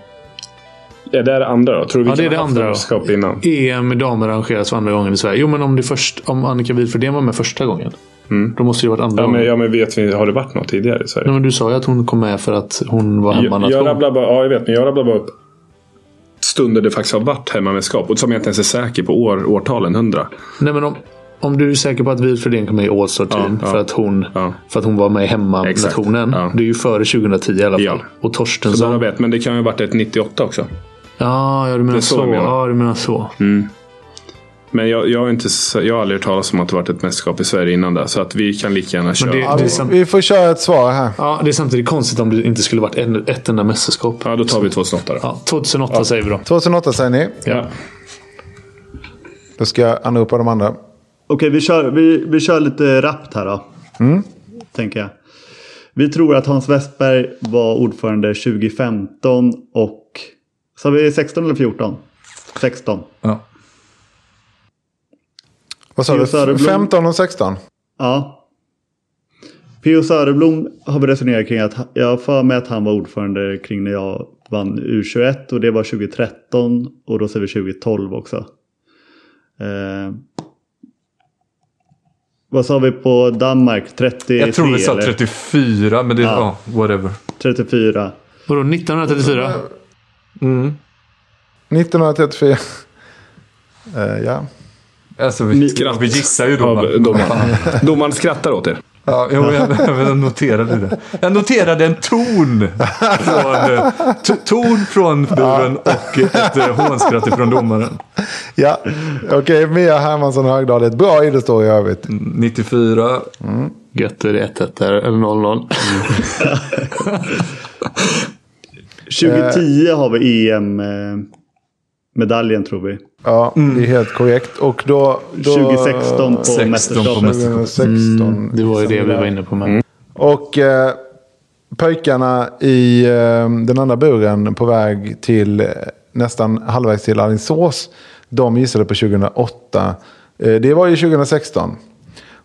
Är det det andra då? Tror du vi Ja, det är kan det ha haft andra då. mästerskap innan? EM i damer arrangeras för andra gången i Sverige. Jo, men om, det först, om Annika Wilfredén var med första gången. Då måste det ju varit Mm. andra Ja men, gången. ja, men vet vi, har det varit något tidigare i Nej, Sverige? men du sa ju att hon kom med för att hon var Jag, jag hemmanation. rabblar bara, ja, jag vet, men jag rabblar bara upp stunder det faktiskt har varit hemmamästerskap. Och som jag inte ens är säker på år, årtalen. 100. Nej, men om, om du är säker på att Wilfredén kom med i All Star Team Ja, ja, för, att hon, ja. för att hon var med i hemmanationen. Exakt, ja. Det är ju före 2010 i alla fall. Ja. Och Så där har Torstensson. vi ett, men det kan ju ha varit ett 98 också. Ja, ja, du menar är så så. jag menar. Mm. Ja, du menar så. Men jag, jag, är inte, s- jag har aldrig hört talas om att det varit ett mästerskap i Sverige innan där. Så att vi kan lika gärna köra. det- Ja, det- vi, vi får köra ett svar här. Ja, det är samtidigt konstigt om det inte skulle varit en, ett enda mästerskap. Ja, då tar vi 2008 då. Ja, 2008 säger vi då. 2008 säger ni. Ja. Då ska jag anropa de andra. Okej, vi kör, vi, vi kör lite rappt här då. Mm. Tänker jag. Vi tror att Hans Westberg var ordförande 2015 och... Så har vi 16 eller 14? 16. Ja. Vad sa Theo du? Söderblom. 15 och 16? Ja. P.O. Söderblom har vi resonerat kring att ha- jag har för mig att han var ordförande kring när jag vann U21 och det var 2013 och då ser vi 2012 också. Eh, vad sa vi på Danmark? 33 Jag tror E vi sa eller? 34, men det är... Ja, whatever. Eh. 34. Vadå 1934? Mm. 1934. Eh, ja. Alltså, vi, vi gissar ju domaren. domaren. domaren skrattar åt er. Ja, jo, jag, jag noterade det. Jag noterade en ton från, eh, t- ton från buren och ett eh, hånskratt från domaren. ja. Okej, Mia Hermansson Högdahl. Ett bra idrottsår i övrigt. Mm. 94. Gött är det 1-1 där, eller 0-0. 2010 har vi EM-medaljen tror vi. Ja, det är helt korrekt. Och då... då 2016 på 16 på mästerskapet. mästerskapet. 2016. Det var ju det Mm. vi var inne på med. Och eh, pojkarna i eh, den andra buren på väg till eh, nästan halvvägs till Alingsås. De gissade på 2008. Eh, det var ju 2016.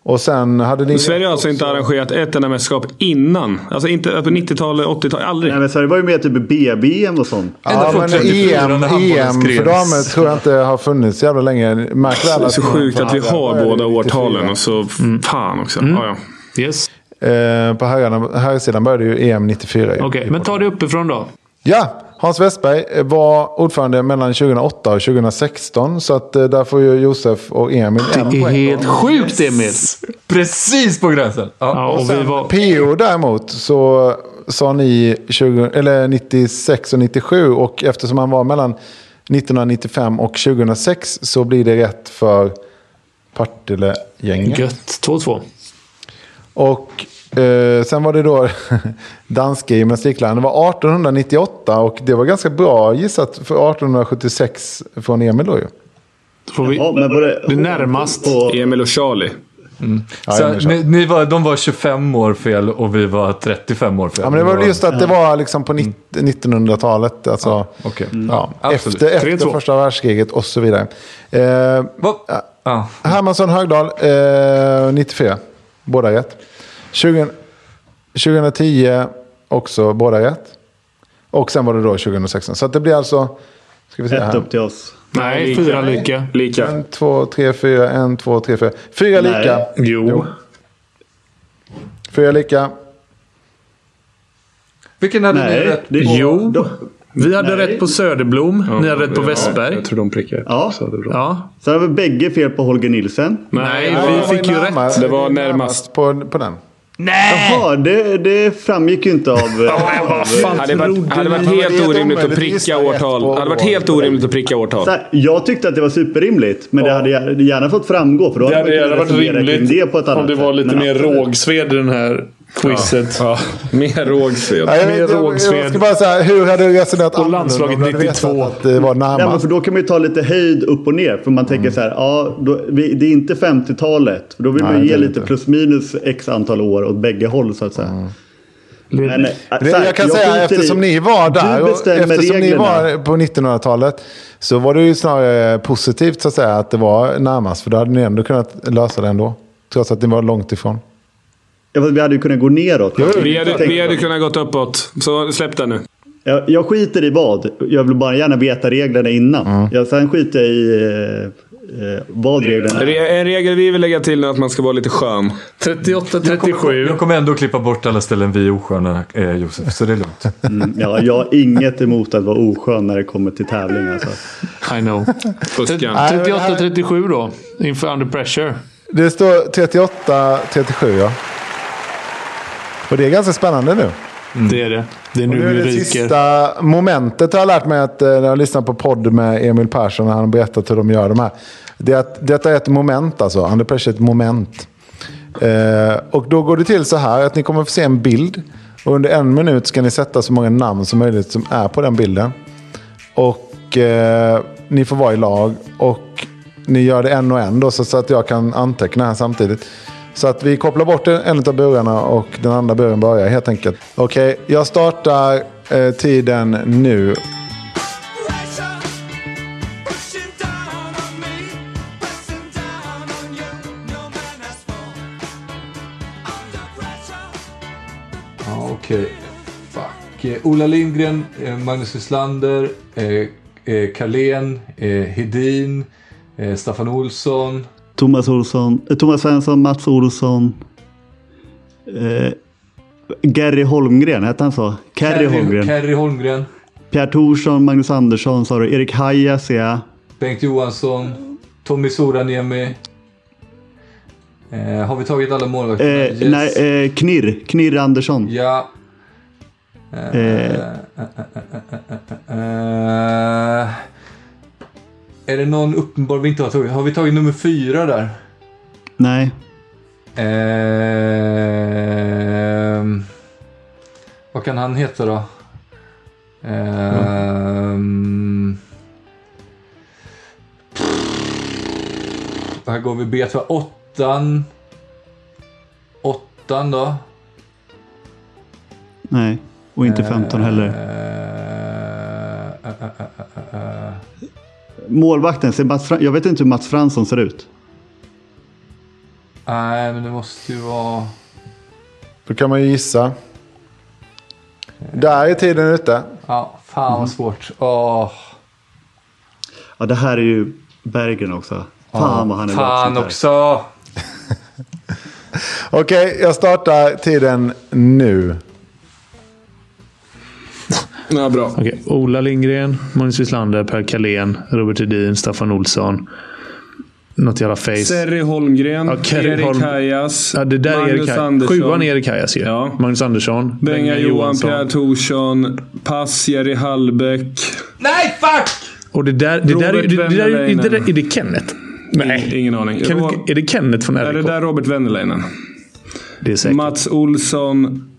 Och sen hade ni... Sverige har alltså inte arrangerat ett enda mästerskap innan. Alltså inte på 90-talet, 80-talet, aldrig. Nej men så det var ju mer typ BBM och sånt. Ända Ja, från men 34 EM, när handbollen EM skrevs. för damer tror jag inte har funnits så jävla länge. Märk väl Det är så sjukt att vi Ja, det har är båda 94. årtalen alltså. och så Mm. fan också. Ja, ja. Yes. Eh, på herrarna- herrsidan började ju EM 94. ju. Okej, men ta det uppifrån då. Ja, Hans Westberg eh, var ordförande mellan 2008 och 2016. Så att eh, där får ju Josef och Emil en Det är poäng. helt sjukt Emil. Precis på gränsen! Ja. Ja, och vi var... PO däremot så sa ni 20, eller 96 och 97. Och eftersom han var mellan 1995 och 2006 så blir det rätt för Partille-gänget. Gött. 2-2. Och eh, sen var det då danska gymnastikläraren. Det var 1898 och det var ganska bra gissat för 1876 från Emil då ju. Då får vi... Ja, men var det, Det är närmast. På, Emil och Charlie. Jajamän, Så, så. ni, ni var, de var 25 år fel och vi var 35 år fel. Ja, men det var väl just att det var liksom på nitt- 1900-talet. Alltså, Okej. ja, Absolut. efter, efter 3-2. första världskriget och så vidare. Eh, Va? Ja. Hermansson Högdahl, eh, 94. Båda rätt. 20, 2010 också båda rätt. Och sen var det då 2016. Så att det blir alltså... Ska vi se ett här. upp till oss. Nej, fyra lika. Lika. En, två, tre, fyra. En, två, tre, fyra. Fyra Nej. lika. Jo. Fyra lika. Vilken hade ni Nej, rätt? det, Jo. Då, Vi hade Nej. rätt på Söderblom. Ni hade rätt på Westberg. Jag tror de prickar. Ja. Så det är bra. Ja. sen har vi bägge fel på Holger Nilsen. Nej, Ja, det var vi fick ju närmast- rätt. Det var på, på den. Jaha, det, det framgick ju inte av... eh, av Fan, hade varit, hade varit Men det är helt helt orimligt att omöjligt att pricka gissa rätt på årtal. Hade varit år. helt orimligt att pricka årtal. så här, jag tyckte att det var superrimligt, men det hade jag- det gärna fått framgå. För då Det hade hade man gärna kunnat varit resonera kring det på ett rimligt annat om det var sätt, lite men mer absolut. rågsved i den här quizet. Ja, mer rågsved. Ja, Mer jag, vet- jag, jag rågsved. ska bara säga, hur hade du resonerat annorlunda landslaget om du hade vetat 92? Att det var Ja, men närmast. för då kan man ju ta lite höjd upp och ner. För man tänker så här, ja, då, vi, det är inte 50-talet. Då vill Mm. Nej, man det ge är lite inte. Mm. plus minus x antal år åt bägge håll så att säga. Men, eh, Det, så här, jag kan säga skiter i- eftersom ni var där Du och bestämmer eftersom reglerna. ni var på 1900-talet så var det ju snarare positivt så att säga att det var närmast. För då hade ni ändå kunnat lösa det ändå. Trots att ni var långt ifrån. Ja, fast vi hade ju kunnat gå neråt. Vi hade, Tänk- vi hade kunnat gått uppåt. Så släpp den nu. jag, jag skiter i vad. Jag vill bara gärna veta reglerna innan. Jag, sen skiter jag i eh, eh, vad reglerna är. Re- En regel vi vill lägga till är att man ska vara lite skön. 38, Jag 37. kommer ändå klippa bort alla ställen vi är osköna, eh, Josef. Så det är lugnt. Mm, ja, jag har inget emot att vara oskön när det kommer till tävling. Alltså. I know. Fuskan. Nej, men det här- 38-37 då. Inför Under Pressure. Det står 38-37 ja. Och det är ganska spännande nu. Mm. Det är det. Det är Nu är nu vi det ryker. sista momentet jag har lärt mig att, eh, när jag lyssnar på podd med Emil Persson när han berättat hur de gör de här. Det är att, detta är ett moment alltså. Under pressure är ett moment. Eh, och då går det till så här att ni kommer få se en bild. Och under en minut ska ni sätta så många namn som möjligt som är på den bilden. Och eh, ni får vara i lag. Och ni gör det en och en då så, så att jag kan anteckna här samtidigt. Så att vi kopplar bort en- en av burarna och den andra buren börjar helt enkelt. Okej, jag startar eh, tiden nu. Pressure. Okej. eh, Fuck. Eh, Ola Lindgren, eh, Magnus Wislander, eh, eh, Carlén, eh, Hedin, eh, Staffan Olsson. Thomas, Olsson, eh, Thomas Svensson, Mats Olsson. Eh, Gary Holmgren, hette han så? Kerry Holmgren. Kerry Holmgren. Pierre Thorsson, Magnus Andersson sa du. Erik Haja ser jag. Eh, Bengt Johansson, Tommy Soraniemi. Eh, har vi tagit alla målvakter? Eh, Nej, eh, Knirr. Knirr Andersson. Ja. Eh, Eh. eh, eh, eh, eh, eh. Är det någon uppenbar vi inte har tagit? Har vi tagit nummer fyra där? Nej. Ehm, vad kan han heta då? Ehm, Här går vi bet för åttan. Åttan då. Nej. Och inte 15 heller. Eh, eh, eh, eh, eh, eh. Målvakten, ser Mats Fran- jag vet inte hur Mats Fransson ser ut. Nej, men det måste ju vara... Då kan man ju gissa. Där är tiden ute. Ja, fan Mm. vad svårt. Åh. Ja, det här är ju Bergen också. Fan vad han är Fan lagsnittare. också! Okej, jag startar tiden nu. Ja, bra. Okej. Ola Lindgren, Magnus Wislander, Per Kalén, Robert Hedin, Staffan Olsson. Något jävla face. Serry Holmgren, Ja, Kerry Erik Holm- Hajas, Ja, det där är Erik Magnus Hajas. Andersson. Sjuan är Erik Hajas ju. Ja. Magnus Andersson. Benga Johan, Pierre Thorsson, Pass, Jerry Hallbäck. Nej, fuck! Och det där, det där, är ju- det, det där, är ju- det där, är det Kenneth? Nej. Ingen aning. Rå- Kenneth, är det Kenneth från är det RIK? där Robert Wennerleinen? Det är säkert. Mats Olsson.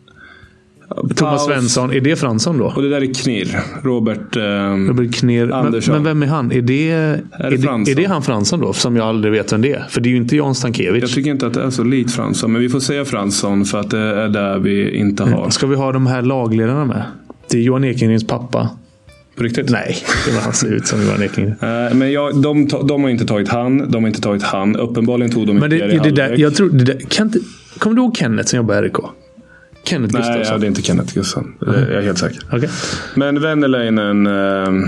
Thomas Paus. Svensson. Är det Fransson då? Och det där är Knirr. Robert... ehm, Robert Knirr. Men, Andersson. men vem är han? Är det, är, Fransson? det, är det han Fransson då? Som jag aldrig vet vem det är. För det är ju inte Jan jag Stankiewicz. tycker inte att det är så likt Fransson, men vi får säga Fransson för att det är där vi inte har. Ska vi ha de här lagledarna med? Det är Johan Ekengrens pappa. På riktigt? Nej, det var han ser ut som Johan Ekengren. Eh, Men jag, de, ta- de har inte tagit han, de har inte tagit han. Uppenbarligen tog de Men det, Jerry det, det där, Hallbäck. jag tror, det där, kan inte, kommer du ihåg Kenneth som jobbar i RIK? Kenneth Nej, ja, Gustafsson. det är inte Kenneth Mm. Gustafsson. Det är Jag är helt säker. Okej. Men Wennerleinen eh,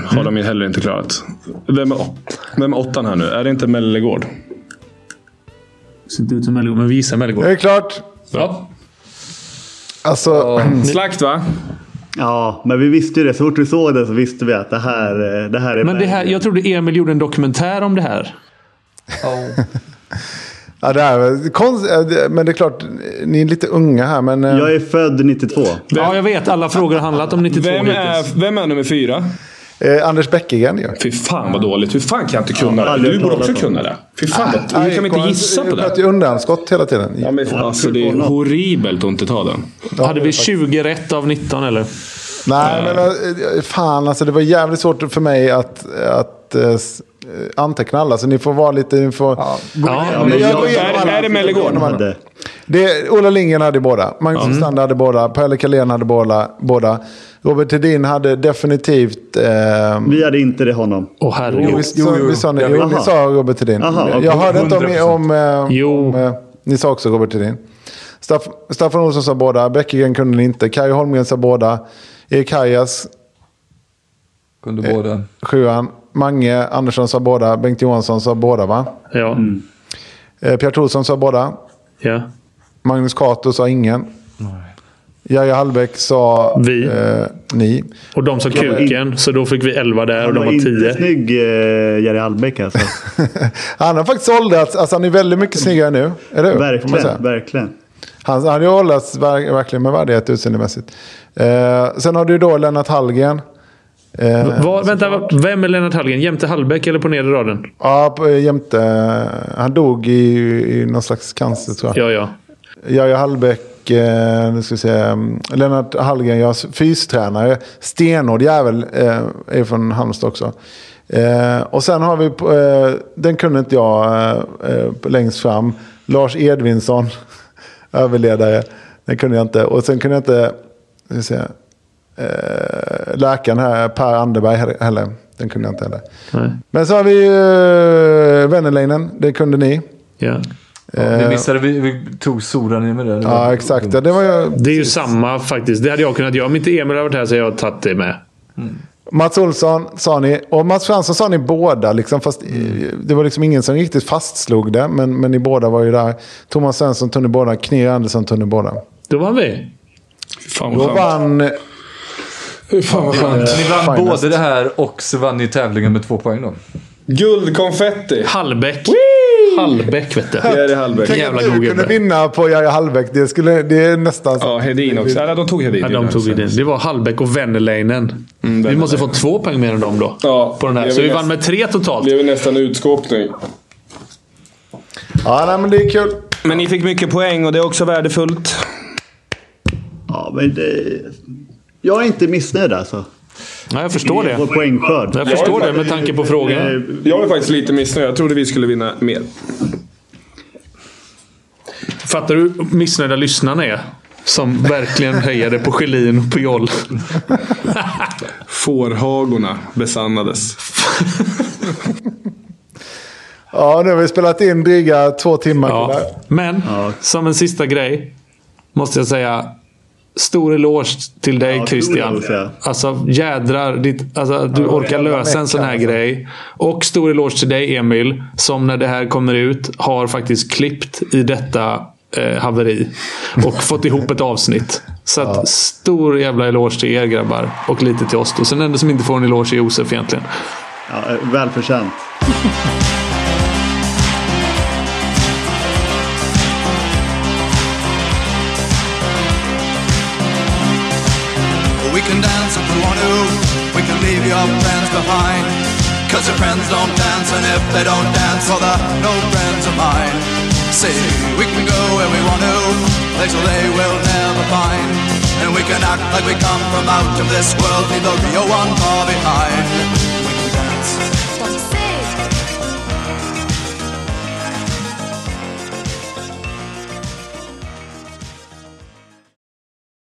har de ju heller inte klarat. Vem är, vem är åttan här nu? Är det inte Mellegård? Ser inte ut som Mellegård, men vi gissar Det Mellegård. är klart. Ja. Alltså, Slakt va? Ja, men vi visste ju det. Så fort vi såg det så visste vi att det här, eh, det här är Men det här, Bergen. jag trodde Emil gjorde en dokumentär om det här. ja, det här, är väl konst, ja, det- men det är klart, ni är lite unga här. Men, eh, jag är född 92. Ja, jag vet. Alla frågor har handlat om 92 Vem är, vem är nummer fyra? eh, Anders Bäckegren ju. Fy fan vad dåligt. Hur fan kan jag inte kunna det? aldrig Du hört borde talas också om. kunna det. Fy fan vad... Hur kan vi inte gissa på Jag det? sköt ju undanskott hela tiden. Ja, men, alltså, det är horribelt att inte ta den. Hade vi 20 rätt av 19 eller? Nej, men eh, fan alltså. Det var jävligt svårt för mig att, att eh, s- eh, anteckna alla. Så ni får vara lite... Ni får, Ja, men jag jag- går igenom Är- alla. är det Mellegård? Jag går igenom alla. Hade- Det, Ola Lindgren hade båda. Magnus Mm. Wislander hade båda. Pelle Kalén hade båda, båda. Robert Hedin hade definitivt... Eh, Vi hade inte det honom. Åh herregud. visst, så- visst sa ni, jo, Jaha. ni sa Robert Hedin. Jaha, okej. Jag hörde inte om... 100%. om, eh, Jo. om eh, ni sa också Robert Hedin. Staff, Staffan Olsson sa båda. Bäckegren kunde ni inte. Kaj Holmgren sa båda. Erik Hajas, Kunde båda. sjuan. Mange Andersson sa båda. Bengt Johansson sa båda, va? Ja. Mm. Eh, Pierre Thorsson sa båda. ja. Magnus Cato sa ingen. Jerry Hallbäck sa Vi. eh, ni. Och de sa kuken, så då fick vi 11 där och Han de var var inte 10. snygg, eh, Jerry Hallbäck alltså. han har faktiskt åldrats. Alltså han är väldigt mycket snyggare nu. Eller hur? Får man säga. verkligen, verkligen. Han, han har ju åldrats ver- verkligen med värdighet utseendemässigt. Eh, sen har du då Lennart Hallgren. Eh, Var, vänta, va- vem är Lennart Hallgren? Jämte Hallbäck eller på nedre raden? ja, på- eh, jämte. eh, Han dog i, i någon slags cancer tror jag. Ja, ja. Jerry Hallbäck. Eh, nu ska vi se. mm, Lennart Hallgren, jag är fystränare. Stenhård jävel. Eh, är från Halmstad också. Eh, och sen har vi, på- eh, den kunde inte jag eh, eh, på- längst fram. Lars Edvinsson, överledare. Den kunde jag inte. Och sen kunde jag inte, nu ska vi se. Eh, läkaren här, Per Anderberg he- heller. Den kunde jag inte heller. Nej. Men så har vi ju eh, Wennerleinen, det kunde ni. ja. Vi missade, vi, vi tog Soran med det. Eh, Ja, exakt. Ja, det var ju... Det är ju samma faktiskt. Det hade jag kunnat göra. Om inte Emil hade varit här så hade jag tagit det med. Mats Olsson sa ni, och Mats Fransson sa ni båda, liksom, fast det var liksom ingen som riktigt fastslog det. Men, men ni båda var ju där. Thomas Svensson tog ni båda, Knir Andersson tog ni båda. Då vann vi. Fan Då vann... Fy fan vad skönt. Ni vann Finest. både det här och så vann ni tävlingen med två poäng då. Guldkonfetti! Hallbäck. Hallbäck vet du. Jerry Hallbäck. Tänk jävla att god du kunde gubbe. vinna på Jaja Hallbäck. Det, skulle, det är nästan så. Ja, Hedin också. Nej, de tog Hedin. Ja, de tog ju det. Det var Hallbäck och Wennerleinen. vi måste få två poäng mer än dem då. Ja, på den här. jag Så vi vill vann nästan- med tre totalt. blev nästan utskåpning. Ja, nej, men det är kul. Men ni fick mycket poäng och det är också värdefullt. Ja, men det... Jag är inte missnöjd alltså. Ja, jag förstår Vår det. poängskörd. Jag förstår det med tanke på frågan. Eh, Jag är faktiskt lite missnöjd. Jag trodde vi skulle vinna mer. Fattar du hur missnöjda lyssnarna är? Som verkligen hejade på Schelin och på Joll. Fårhagorna besannades. Ja, nu har vi spelat in dryga två timmar. Ja. killar. Men, som en sista grej. Måste jag säga. Stor eloge till dig stor Christian. eloge, ja. Alltså jädrar. Ditt, alltså, att du orkar lösa en sån här grej. Och stor eloge till dig Emil. Som när det här kommer ut har faktiskt klippt i detta eh, haveri. Och fått ihop ett avsnitt. Så att, stor jävla eloge till er grabbar. Och lite till oss då. Sen den enda som inte får en eloge är Josef egentligen. Ja, eh, välförtjänt. We can dance if we want to. We can leave your friends behind. Cause your friends don't dance, and if they don't dance, well, they're no friends of mine. See, we can go where we want to, place where they will never find. And we can act like we come from out of this world, leave the real one far behind. We can dance.